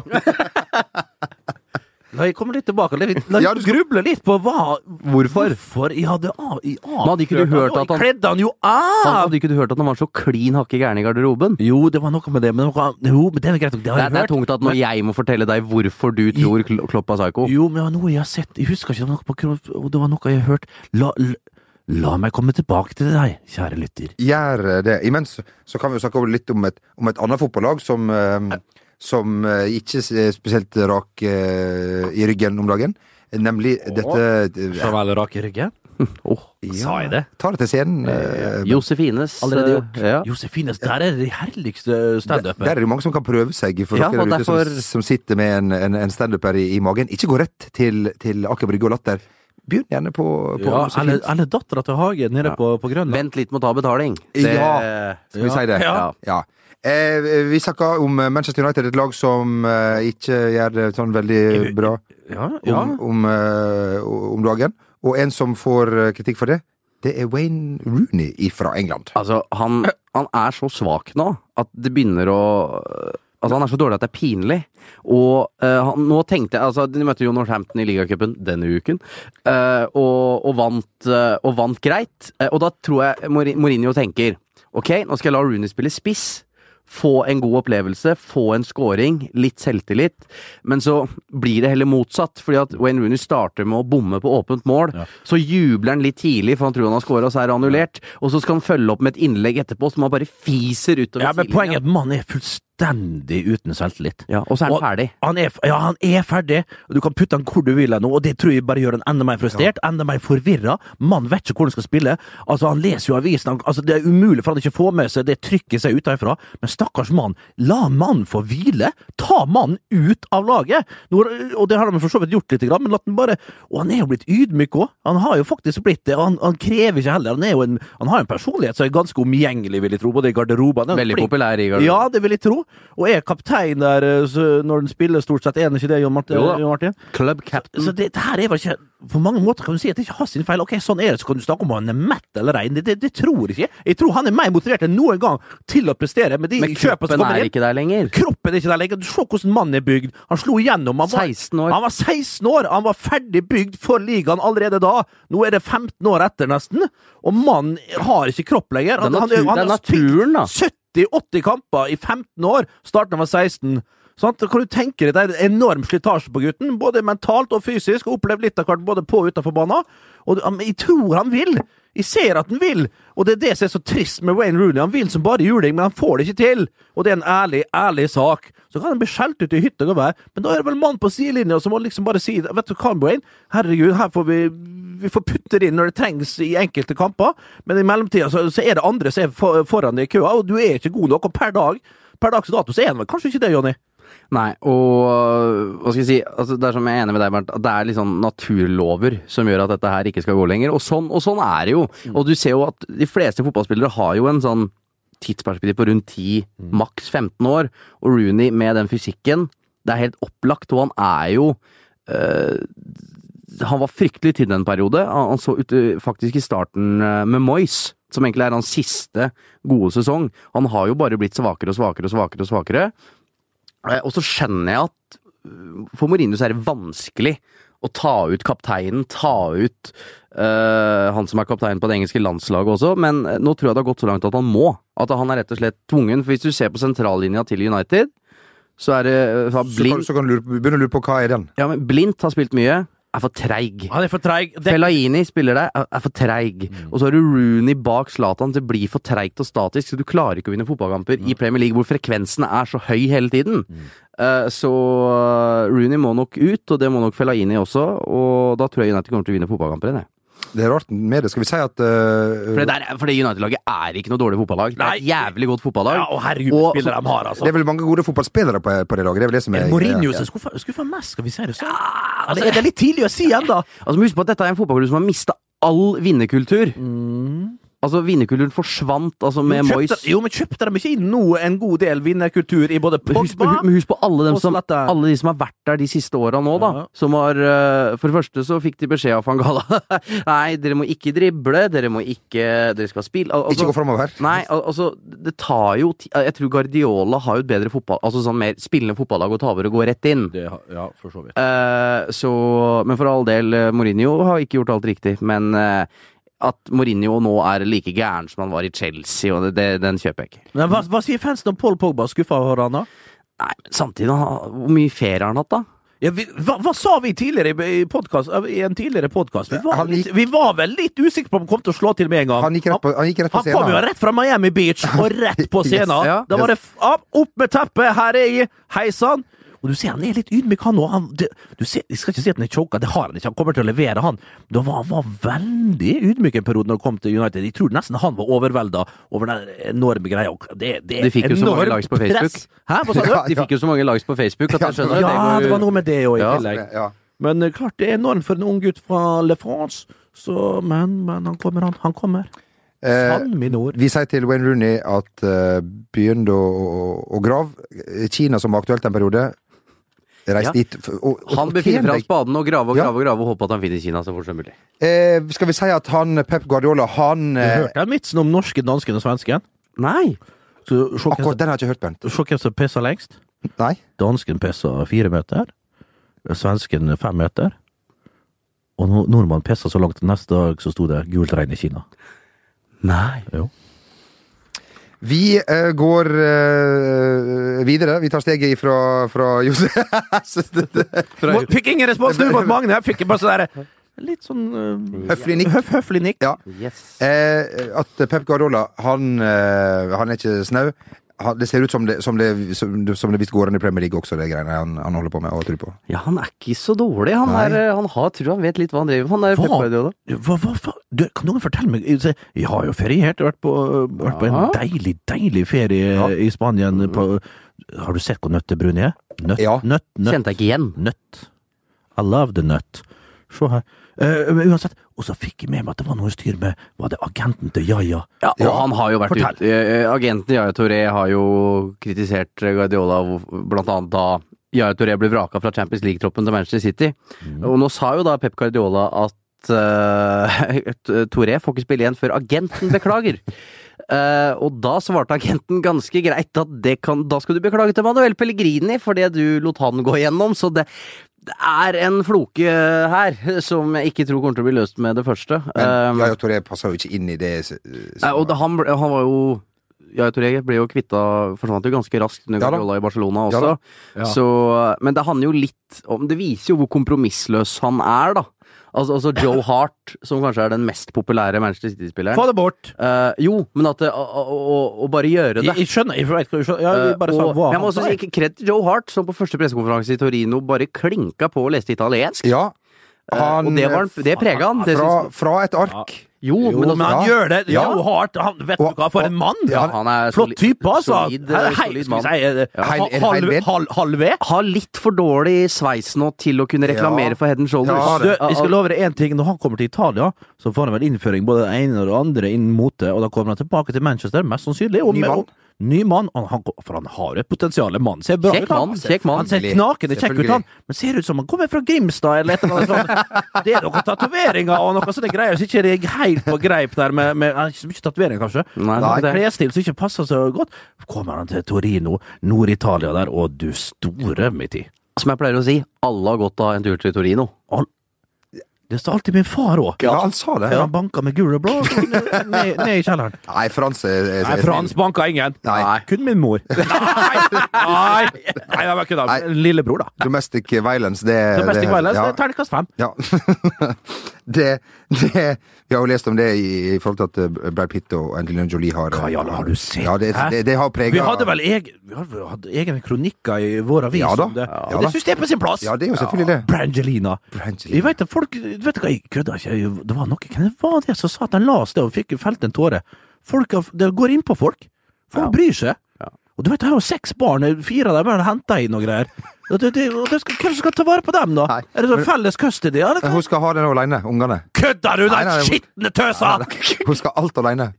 [SPEAKER 2] La jeg komme litt tilbake og litt- la jeg
[SPEAKER 1] Ja, du skal-
[SPEAKER 2] gruble litt på hva
[SPEAKER 3] Hvorfor?
[SPEAKER 2] Hvorfor? Jeg hadde av, jeg
[SPEAKER 3] hadde ikke du hørt at han-
[SPEAKER 2] Kledde han jo
[SPEAKER 3] Han,
[SPEAKER 2] av!
[SPEAKER 3] hadde ikke du hørt at han var så klin hakke gæren i garderoben?
[SPEAKER 2] Jo, det var noe med det, men, noe, annet- jo, men det er greit nok. Det har
[SPEAKER 3] Det, er-
[SPEAKER 2] jeg
[SPEAKER 3] det er
[SPEAKER 2] hørt.
[SPEAKER 3] tungt at når jeg må fortelle deg hvorfor du tror Kl- Klopp er psyko.
[SPEAKER 2] Jo, men det var noe jeg har sett. Jeg husker ikke det var noe på kropp, og det var noe jeg har hørt. La, la, la meg komme tilbake til deg, kjære lytter.
[SPEAKER 1] Gjør eh, det. Imens så kan vi jo snakke om litt om et, om et annet fotballag som, eh, som eh, ikke er spesielt rak eh, i ryggen om dagen. Nemlig dette eh,
[SPEAKER 2] Farvel, rak i ryggen.
[SPEAKER 3] (laughs) Åh.
[SPEAKER 2] Sa jeg det?
[SPEAKER 1] Ta det til scenen. eh,
[SPEAKER 3] Josefines.
[SPEAKER 2] Allerede gjort.
[SPEAKER 3] eh, Ja.
[SPEAKER 2] Josefines, der er det herligste
[SPEAKER 1] Der
[SPEAKER 2] standupet.
[SPEAKER 1] er det jo mange som kan prøve seg, for
[SPEAKER 3] Ja,
[SPEAKER 1] dere
[SPEAKER 3] og
[SPEAKER 1] der ute som,
[SPEAKER 3] derfor-
[SPEAKER 1] som sitter med en, en, en standuper i, i magen. Ikke gå rett til, til Aker Brygge og Latter. Begynn gjerne på, på
[SPEAKER 2] Ja,
[SPEAKER 1] Josefin.
[SPEAKER 2] eller eller dattera til Hagen nede
[SPEAKER 3] Ja.
[SPEAKER 2] på, på Grønland.
[SPEAKER 3] Vent litt med å ta betaling.
[SPEAKER 1] Ja. Skal vi si det?
[SPEAKER 2] Ja.
[SPEAKER 1] Ja. Eh, vi snakka om Manchester United, et lag som eh, ikke gjør det sånn veldig bra om,
[SPEAKER 2] Ja, ja.
[SPEAKER 1] om, eh, om dagen. Og en som får eh, kritikk for det, det er Wayne Rooney fra England.
[SPEAKER 3] Altså, han, han er så svak nå at det begynner å Altså, han er så dårlig at det er pinlig. Og eh, han, nå tenkte jeg Altså, de møtte jo Northampton i ligacupen denne uken, eh, og, og, vant, eh, og vant greit. Eh, og da tror jeg Mori- Mourinho tenker Ok, nå skal jeg la Rooney spille spiss. Få en god opplevelse, få en scoring, litt selvtillit. Men så blir det heller motsatt, fordi at Wayne Rooney starter med å bomme på åpent mål. Så jubler han litt tidlig, for han tror han har scora, og så er det annullert. Og så skal han følge opp med et innlegg etterpå som han bare fiser utover
[SPEAKER 2] ja, men
[SPEAKER 3] sidelinja.
[SPEAKER 2] poenget er at mannen er fullstendig uten selvtillit.
[SPEAKER 3] Ja, og så er
[SPEAKER 2] Og-
[SPEAKER 3] han ferdig.
[SPEAKER 2] Han er, ja, han er ferdig, og du kan putte han hvor du vil nå, og det tror jeg bare gjør han enda mer frustrert, enda mer forvirra. Mannen vet ikke hvor han skal spille. Altså, han leser jo avisen, han, altså, det er umulig for han ikke å få med seg det trykket seg utenfra. Men stakkars mann, la mannen få hvile! Ta mannen ut av laget! Nå, og det har de for så vidt gjort litt, grann, men latt den bare Og han er jo blitt ydmyk òg, han har jo faktisk blitt det, og han, han krever ikke heller. Han, er jo en, han har en personlighet som er ganske omgjengelig, vil jeg tro, både i garderobene og
[SPEAKER 3] Veldig
[SPEAKER 2] flink-
[SPEAKER 3] populær i garderoben.
[SPEAKER 2] ja, det vil jeg tro. og er kaptein der eh, så når den spiller, stort sett. Er den ikke det, Jon Martin?
[SPEAKER 3] Jo da. Mm.
[SPEAKER 2] Jon Martin?
[SPEAKER 3] Club captain.
[SPEAKER 2] Så det, det her er vel ikke På mange måter kan du si at det ikke er hans sin feil. Ok, sånn er det, så kan du snakke om han er mett eller rein. Det, det, det tror jeg ikke. Jeg tror han er mer motivert enn noen gang til å prestere med de
[SPEAKER 3] Men
[SPEAKER 2] kjøpene
[SPEAKER 3] kroppen
[SPEAKER 2] som kommer
[SPEAKER 3] er
[SPEAKER 2] inn.
[SPEAKER 3] ikke der lenger.
[SPEAKER 2] Kroppen er ikke der lenger. Du Se hvordan mannen er bygd. Han slo igjennom. Han var,
[SPEAKER 3] 16 år.
[SPEAKER 2] han var 16 år! Han var ferdig bygd for ligaen allerede da. Nå er det 15 år etter, nesten. Og mannen har ikke kropp lenger.
[SPEAKER 3] Det
[SPEAKER 2] Han-
[SPEAKER 3] er,
[SPEAKER 2] han-
[SPEAKER 3] natur,
[SPEAKER 2] han
[SPEAKER 3] det er
[SPEAKER 2] har spilt
[SPEAKER 3] naturen, da.
[SPEAKER 2] 70-80 kamper i 15 år. Starten var 16. Sant? Da Kan du tenke deg, Det er en enorm slitasje på gutten, både mentalt og fysisk. og Opplevd litt av hvert både på og utenfor banen. Og det- men jeg tror han vil! Jeg ser at han vil! Og det er det som er så trist med Wayne Rooney. Han vil som bare juling, men han får det ikke til! Og det er en ærlig, ærlig sak. Så kan han bli skjelt ut i hytta og vær, men da er det vel mann på sidelinja som må liksom bare si Vet du hva, Wayne? Herregud, her får vi vi får putte det inn når det trengs i enkelte kamper, men i mellomtida så, så er det andre som er for, foran deg i køa, og du er ikke god nok. Og per dag Per dags dato så er han vel kanskje ikke det, Jonny?
[SPEAKER 3] Nei, og øh, hva skal jeg si, altså, det er som jeg er enig med deg, Bernt, at det er litt sånn naturlover som gjør at dette her ikke skal gå lenger, og sånn, og sånn er det jo.
[SPEAKER 2] Mm.
[SPEAKER 3] Og du ser jo at de fleste fotballspillere har jo en sånn tidsperspektiv på rundt 10,
[SPEAKER 2] Mm.
[SPEAKER 3] maks 15 år, og Rooney med den fysikken, det er helt opplagt, og han er jo øh, han var fryktelig tynn en periode. Han, han så ut ø, faktisk i starten ø, med Moyes, som egentlig er hans siste gode sesong. Han har jo bare blitt svakere og svakere og svakere. Og svakere. Eh, Og så skjønner jeg at ø, for Mourinho så er det vanskelig å ta ut kapteinen, ta ut ø, han som er kaptein på det engelske landslaget også, men ø, nå tror jeg det har gått så langt at han må. At han er rett og slett tvungen. For hvis du ser på sentrallinja til United, så er det ø, så har
[SPEAKER 1] Så kan,
[SPEAKER 3] Blind,
[SPEAKER 1] så kan du lure, på- begynne å lure på hva er den.
[SPEAKER 3] ja, men Blindt har spilt mye, er for treig.
[SPEAKER 2] Han er for treig. Det-
[SPEAKER 3] Fellaini spiller der, er- er for treig. Og så har du Rooney bak Zlatan. Det blir for treigt og statisk, så du klarer ikke å vinne fotballkamper i Premier League hvor frekvensen er så høy hele tiden. Eh, så eh, Rooney må nok ut, og det må nok Fellaini også. Og da tror jeg United kommer til å vinne fotballkamper igjen. jeg.
[SPEAKER 1] Det er rart med det. Skal vi si at eh,
[SPEAKER 3] For det, der, for det United-laget er ikke noe dårlig fotballag. Det er et jævlig godt fotballag.
[SPEAKER 2] Ja, og herregud,
[SPEAKER 3] Og-
[SPEAKER 2] spillere de har, altså.
[SPEAKER 1] Det er vel mange gode fotballspillere på, på det laget. Det er vel det som er
[SPEAKER 2] Mourinho
[SPEAKER 1] greia.
[SPEAKER 2] som skuffer, skuffer mest, skal vi si det sånn? Eller er det litt tidlig å si ennå?
[SPEAKER 3] Altså, men Husk på at dette er en fotballklubb som har mista all vinnerkultur. Altså, vinnerkulturen forsvant altså, med Moyes.
[SPEAKER 2] Kjøpte- Jo, Mm. men kjøpte de ikke inn nå en god del vinnerkultur i både
[SPEAKER 3] Husk på,
[SPEAKER 2] Pogba
[SPEAKER 3] men husk på alle, dem
[SPEAKER 2] og
[SPEAKER 3] som,
[SPEAKER 2] Zlatan.
[SPEAKER 3] alle de som har vært der de siste åra nå, da.
[SPEAKER 2] Ja.
[SPEAKER 3] Som har eh, For det første så fikk de beskjed av Fangala (laughs) Nei, dere må ikke drible, dere må ikke Dere skal spille al- altså,
[SPEAKER 1] Ikke gå framover.
[SPEAKER 3] Nei, al- altså, det tar jo ti- Jeg tror Guardiola har jo et bedre fotball Altså sånn mer spillende fotballag og ta over og gå rett inn.
[SPEAKER 2] Det har- Ja, for så vidt.
[SPEAKER 3] Eh, så Men for all del, eh, Mourinho har ikke gjort alt riktig, men eh, at Mourinho nå er like gæren som han var i Chelsea, og det, det, den kjøper jeg ikke.
[SPEAKER 2] Men hva, hva sier fansen om Paul Pogba skuffa hverandre?
[SPEAKER 3] Nei, men samtidig, han- hvor mye ferie har han hatt, da?
[SPEAKER 2] Ja, vi, hva, hva sa vi tidligere i, i, podcast, eh, i en tidligere podkast? Vi, var
[SPEAKER 1] Han
[SPEAKER 2] litt-
[SPEAKER 1] gikk-
[SPEAKER 2] vi var vel litt usikre på om han kom til å slå til med en gang.
[SPEAKER 1] Han gikk rett på, han gikk rett på
[SPEAKER 2] han kom jo
[SPEAKER 1] scenen.
[SPEAKER 2] rett fra Miami Beach og rett på
[SPEAKER 1] (laughs) Yes.
[SPEAKER 2] scenen.
[SPEAKER 3] Ja.
[SPEAKER 2] Da var det f opp, opp med teppet, her er jeg, hei sann. Og du ser han er litt ydmyk, han òg. Jeg skal ikke si at han er choka, det har han ikke. Han kommer til å levere, han. Men han var, han var veldig ydmyk en periode når han kom til United. Jeg tror nesten han var overvelda over den enorme greia. Og Det, det er
[SPEAKER 3] De fikk jo så mange
[SPEAKER 2] enormt
[SPEAKER 3] likes på Facebook.
[SPEAKER 2] press. Hæ, hva sa du?
[SPEAKER 1] (laughs) Ja,
[SPEAKER 3] De fikk jo så mange likes på Facebook at jeg skjønner at
[SPEAKER 2] Ja,
[SPEAKER 3] det
[SPEAKER 2] det var
[SPEAKER 3] går
[SPEAKER 2] noe med det òg, i
[SPEAKER 3] Ja.
[SPEAKER 2] tillegg.
[SPEAKER 1] Ja.
[SPEAKER 2] Men eh, klart det er enormt for en ung gutt fra Le France. Så, men, men han kommer, han. Han kommer.
[SPEAKER 1] Eh,
[SPEAKER 2] Sann min ord.
[SPEAKER 1] vi sier til Wayne Rooney at uh, begynn å, å, å grave. Kina som var aktuelt en periode, reis
[SPEAKER 3] Ja.
[SPEAKER 1] dit. f- Og, og,
[SPEAKER 3] Han
[SPEAKER 1] og
[SPEAKER 3] befinner
[SPEAKER 1] tjen
[SPEAKER 3] fram
[SPEAKER 1] deg.
[SPEAKER 3] spaden og grave og
[SPEAKER 1] Ja.
[SPEAKER 3] grave og grave og håper at han finner Kina så fort som mulig.
[SPEAKER 1] Eh, skal vi si at han Pep Guardiola, han
[SPEAKER 2] Du
[SPEAKER 1] eh,
[SPEAKER 2] hørte den vitsen om norsken, dansken og svensken?
[SPEAKER 3] Nei!
[SPEAKER 2] Så Se hvem
[SPEAKER 1] Akkurat
[SPEAKER 2] som-
[SPEAKER 1] den har jeg ikke hørt, Bent.
[SPEAKER 2] se hvem som pisser lengst.
[SPEAKER 1] Nei?
[SPEAKER 2] Dansken pisser fire meter. Svensken fem meter. Og no- nordmannen pisser så langt. Neste dag så sto det 'gult regn i Kina'.
[SPEAKER 3] Nei.
[SPEAKER 2] Jo.
[SPEAKER 1] Vi eh, går eh, videre. Vi tar steget ifra fra Josef. (laughs) Så det- det-
[SPEAKER 2] Må- Fikk ingen respons nå mot Magne! Jeg fikk bare sånn derre Litt sånn eh,
[SPEAKER 1] Høflig nikk.
[SPEAKER 2] høf, høflig nikk.
[SPEAKER 1] Ja.
[SPEAKER 3] Yes.
[SPEAKER 1] Eh, at Pep Guardiola, han, eh, han er ikke snau. Han- Det ser ut som det, som det, som det, som det visst går an i Premier League også, det greiene han, han holder på med og tror på.
[SPEAKER 3] Ja, han er ikke så dårlig. Han,
[SPEAKER 1] Nei.
[SPEAKER 3] er, eh, han har, tror han vet litt hva han driver med. Han er
[SPEAKER 2] Hva?
[SPEAKER 3] Pep Guardiola.
[SPEAKER 2] Hva, hva, hva? Du, kan noen fortelle meg Jeg jeg har jo feriert, vært på, vært på en
[SPEAKER 3] Ja. Mm.
[SPEAKER 2] deilig, deilig ferie i Spanien. På, har du sett hvor nøttebrun jeg er? Nøtt,
[SPEAKER 1] Ja.
[SPEAKER 2] nøtt, nøtt,
[SPEAKER 3] Kjente jeg ikke igjen.
[SPEAKER 2] nøtt. I love the nut. Se her. Eh, men uansett. Og så fikk jeg med meg at det var noe styr med Var det agenten til Jaja?
[SPEAKER 3] Ja, og han har jo vært
[SPEAKER 2] fortell.
[SPEAKER 3] ute eh, Agenten Yaya Touré har jo kritisert eh, Guardiola hvor- blant annet da Yaya Touré ble vraka fra Champions League-troppen til Manchester City. Og nå sa jo da Pep Guardiola at eh, (laughs) Touré får ikke spille igjen før agenten beklager. Eh, og da svarte agenten ganske greit at det kan, da skal du beklage til Manuel Pellegrini for det du lot han gå igjennom, så det, det er en floke eh, her som jeg ikke tror kommer til å bli løst med det første. Eh,
[SPEAKER 1] Men Yaya Toré passer jo ikke inn i det. eh,
[SPEAKER 3] Nei, og da, han, ble, han var jo Yaya Touré ble jo kvitta Forsvant jo ganske raskt under
[SPEAKER 1] Ja da.
[SPEAKER 3] Guardiola i Barcelona
[SPEAKER 1] Ja
[SPEAKER 3] også.
[SPEAKER 1] da.
[SPEAKER 2] Ja.
[SPEAKER 3] Så, eh, men det handler jo litt om Det viser jo hvor kompromissløs han er, da. Altså, altså Joe Hart, som kanskje er den mest populære Manchester City-spilleren.
[SPEAKER 2] Få det bort!
[SPEAKER 3] Eh, jo, men at det, å, å, å- å bare gjøre
[SPEAKER 2] Jeg,
[SPEAKER 3] det
[SPEAKER 2] jeg skjønner. Jeg, vet ikke hva du skjønner. Ja, vi bare sa
[SPEAKER 3] Eh, og,
[SPEAKER 2] hva
[SPEAKER 3] men Jeg må
[SPEAKER 2] han
[SPEAKER 3] også
[SPEAKER 2] sa.
[SPEAKER 3] si ikke kred til Joe Hart, som på første pressekonferanse i Torino bare klinka på og leste italiensk.
[SPEAKER 1] Ja.
[SPEAKER 3] Eh,
[SPEAKER 1] Han,
[SPEAKER 3] og det, var han- det prega han. Det
[SPEAKER 1] fra,
[SPEAKER 3] syns-
[SPEAKER 1] fra et ark.
[SPEAKER 3] jo,
[SPEAKER 2] eh, Jo, men,
[SPEAKER 3] men altså,
[SPEAKER 2] han
[SPEAKER 1] ja.
[SPEAKER 2] gjør det. Ja.
[SPEAKER 1] Ja.
[SPEAKER 2] Joe Hart, han, vet
[SPEAKER 1] Og-
[SPEAKER 2] du hva, for en mann!
[SPEAKER 1] Ja,
[SPEAKER 3] han er
[SPEAKER 2] Flott type, altså!
[SPEAKER 3] solid,
[SPEAKER 2] Her er
[SPEAKER 3] eh,
[SPEAKER 2] hei-
[SPEAKER 3] solid
[SPEAKER 2] skal vi
[SPEAKER 3] mann.
[SPEAKER 2] si, eh,
[SPEAKER 1] Heil-
[SPEAKER 2] ha-
[SPEAKER 1] en
[SPEAKER 2] halv-
[SPEAKER 1] heil ved.
[SPEAKER 2] halv- Halv ved?
[SPEAKER 3] har litt for dårlig sveis nå til å kunne reklamere
[SPEAKER 1] Ja.
[SPEAKER 3] for head and shoulders.
[SPEAKER 1] Ja,
[SPEAKER 2] Du,
[SPEAKER 1] det-
[SPEAKER 2] jeg skal love deg en ting. Når han kommer til Italia, så får han vel innføring både det ene og det andre innen mote, og da kommer han tilbake til Manchester, mest sannsynlig. Og
[SPEAKER 1] Ny mann.
[SPEAKER 2] og- Ny mann. Han, han, for han har jo et potensial. Mannen ser bra
[SPEAKER 3] Kjekk
[SPEAKER 2] ut. han.
[SPEAKER 3] mann, kjekk mann.
[SPEAKER 2] Han ser knakende kjekk ut, han. Men ser ut som han kommer fra Grimstad eller et eller annet
[SPEAKER 1] (laughs)
[SPEAKER 2] sånt. Det er noen tatoveringer og noe sånne greier som ikke er helt på greip der med, med han har Ikke så mye tatoveringer, kanskje.
[SPEAKER 3] Nei,
[SPEAKER 2] Han har
[SPEAKER 3] det-
[SPEAKER 2] en Klesstil som ikke passer så godt. Kommer han til Torino, Nord-Italia der, og du store mitt i.
[SPEAKER 3] Som jeg pleier å si, alle har godt av en tur til Torino.
[SPEAKER 2] Det sa alltid min far òg.
[SPEAKER 1] Ja, han sa det.
[SPEAKER 2] Før
[SPEAKER 1] Ja.
[SPEAKER 2] han banka med gul og blå så ned, ned- ned i kjelleren.
[SPEAKER 1] Nei, Frans er, er,
[SPEAKER 2] Nei,
[SPEAKER 1] er
[SPEAKER 2] Frans banka ingen.
[SPEAKER 1] Nei.
[SPEAKER 2] Kun min
[SPEAKER 1] (laughs)
[SPEAKER 2] mor. Nei! Nei, Nei jeg var ikke da.
[SPEAKER 1] Nei.
[SPEAKER 2] Lillebror, da.
[SPEAKER 1] Domestic violence, det
[SPEAKER 2] Domestic
[SPEAKER 1] det-
[SPEAKER 2] violence,
[SPEAKER 1] ja.
[SPEAKER 2] det er terningkast fem.
[SPEAKER 1] Ja. (laughs) det, det Vi har jo lest om det i, i forhold til at eh, Brad Pitt og Angelina Jolie har
[SPEAKER 2] Hva i alle har du sett?
[SPEAKER 1] Ja, det,
[SPEAKER 2] Hæ?
[SPEAKER 1] det, det har prega
[SPEAKER 2] Vi hadde vel egen, vi hadde- vi hadde egne kronikker i vår avis
[SPEAKER 1] Ja da.
[SPEAKER 2] om det.
[SPEAKER 1] Ja
[SPEAKER 2] Og
[SPEAKER 1] da.
[SPEAKER 2] det syns jeg er på sin plass!
[SPEAKER 1] Ja, det er jo selvfølgelig det.
[SPEAKER 2] Brangelina.
[SPEAKER 1] Brangelina.
[SPEAKER 2] Jeg vet, at folk, vet du hva, jeg kødder ikke. Jeg- Det var noe Hvem det var det som sa at han la seg og fikk felt en tåre? Folk, har- det går inn på folk. Folk bryr seg. Og du vet, jeg har jo seks barn, eh, fire av dem er henta inn og greier. Og det, det, og det skal, hvem skal ta vare på dem, da?
[SPEAKER 1] Nei.
[SPEAKER 2] Er det sånn felles custody? Eller hva?
[SPEAKER 1] Hun skal ha den aleine, ungene.
[SPEAKER 2] Kødder du,
[SPEAKER 1] Nei,
[SPEAKER 2] den
[SPEAKER 1] nei, det-
[SPEAKER 2] skitne tøsa!
[SPEAKER 1] (laughs) Hun skal alt aleine.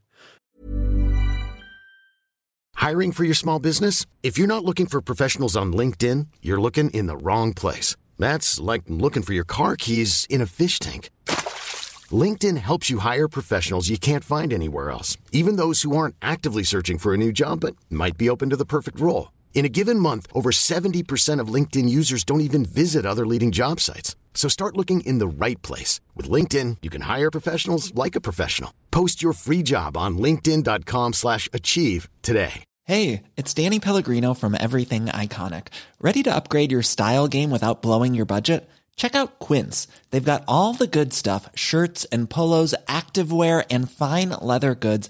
[SPEAKER 4] Hiring for your small business? If you're not looking for professionals on LinkedIn, you're looking in the wrong place. That's like looking for your car keys in a fish tank. LinkedIn helps you hire professionals you can't find anywhere else, even those who aren't actively searching for a new job but might be open to the perfect role. In a given month, over 70% of LinkedIn users don't even visit other leading job sites. So start looking in the right place. With LinkedIn, you can hire professionals like a professional. Post your free job on linkedin.com/achieve slash achieve today.
[SPEAKER 5] Hey, it's Danny Pellegrino from Everything Iconic. Ready to upgrade your style game without blowing your budget? Check out Quince. They've got all the good stuff shirts and polos, activewear, and fine leather goods,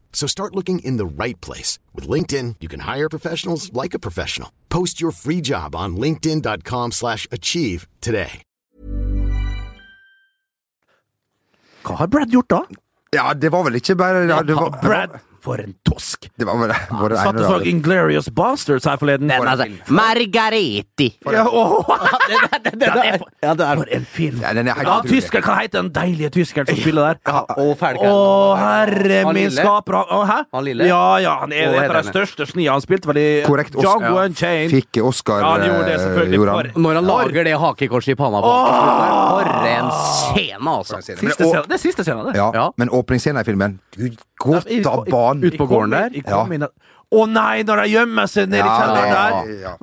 [SPEAKER 4] So start looking in the right place. With LinkedIn, you can hire professionals like a professional. Post your free job on linkedin.com/achieve slash achieve today.
[SPEAKER 2] Hva har Brad gjort da?
[SPEAKER 1] Ja, det var vel ikke bare ja, det var,
[SPEAKER 2] Brad For en tosk!
[SPEAKER 1] Det var bare, bare det
[SPEAKER 2] Satt og så
[SPEAKER 1] ene og det andre.
[SPEAKER 2] Inglorious Bastards her forleden.
[SPEAKER 3] Den, altså, Margareti!
[SPEAKER 2] Ja, åh. (laughs) Den er for-
[SPEAKER 3] Ja, det er-
[SPEAKER 2] For en film!
[SPEAKER 1] Ja, den er helt
[SPEAKER 2] Ja,
[SPEAKER 1] utrolig.
[SPEAKER 2] tysker, hva heter den deilige tyskeren som spiller der?
[SPEAKER 3] Og Felgen.
[SPEAKER 2] Å, herre
[SPEAKER 3] Han
[SPEAKER 2] min
[SPEAKER 3] lille?
[SPEAKER 2] skaper han- Å, Hæ?
[SPEAKER 3] Han lille?
[SPEAKER 2] Ja, ja, han er
[SPEAKER 3] Og
[SPEAKER 2] et av de
[SPEAKER 3] Helene.
[SPEAKER 2] største snia han spilte. Fordi
[SPEAKER 1] Korrekt. Oscar.
[SPEAKER 2] Django Unchained.
[SPEAKER 1] Fikk Oscar,
[SPEAKER 2] Ja, han gjorde det,
[SPEAKER 1] eh,
[SPEAKER 2] selvfølgelig,
[SPEAKER 1] gjorde
[SPEAKER 2] for-
[SPEAKER 1] han.
[SPEAKER 3] Når han lager det hakekorset i panna på oss til slutt der, For en scene, altså!
[SPEAKER 1] Men
[SPEAKER 2] Siste
[SPEAKER 1] å-
[SPEAKER 2] scenen, det er siste scenen, det.
[SPEAKER 1] Ja,
[SPEAKER 3] Ja.
[SPEAKER 1] men åpningsscenen i filmen Gud, godt
[SPEAKER 2] I-
[SPEAKER 1] av
[SPEAKER 2] i-
[SPEAKER 1] banen!
[SPEAKER 3] ut på gården der?
[SPEAKER 2] i- kom inn- Å nei, når de gjemmer seg nedi
[SPEAKER 1] Ja,
[SPEAKER 2] kjelleren
[SPEAKER 1] ja,
[SPEAKER 2] der!
[SPEAKER 1] ja.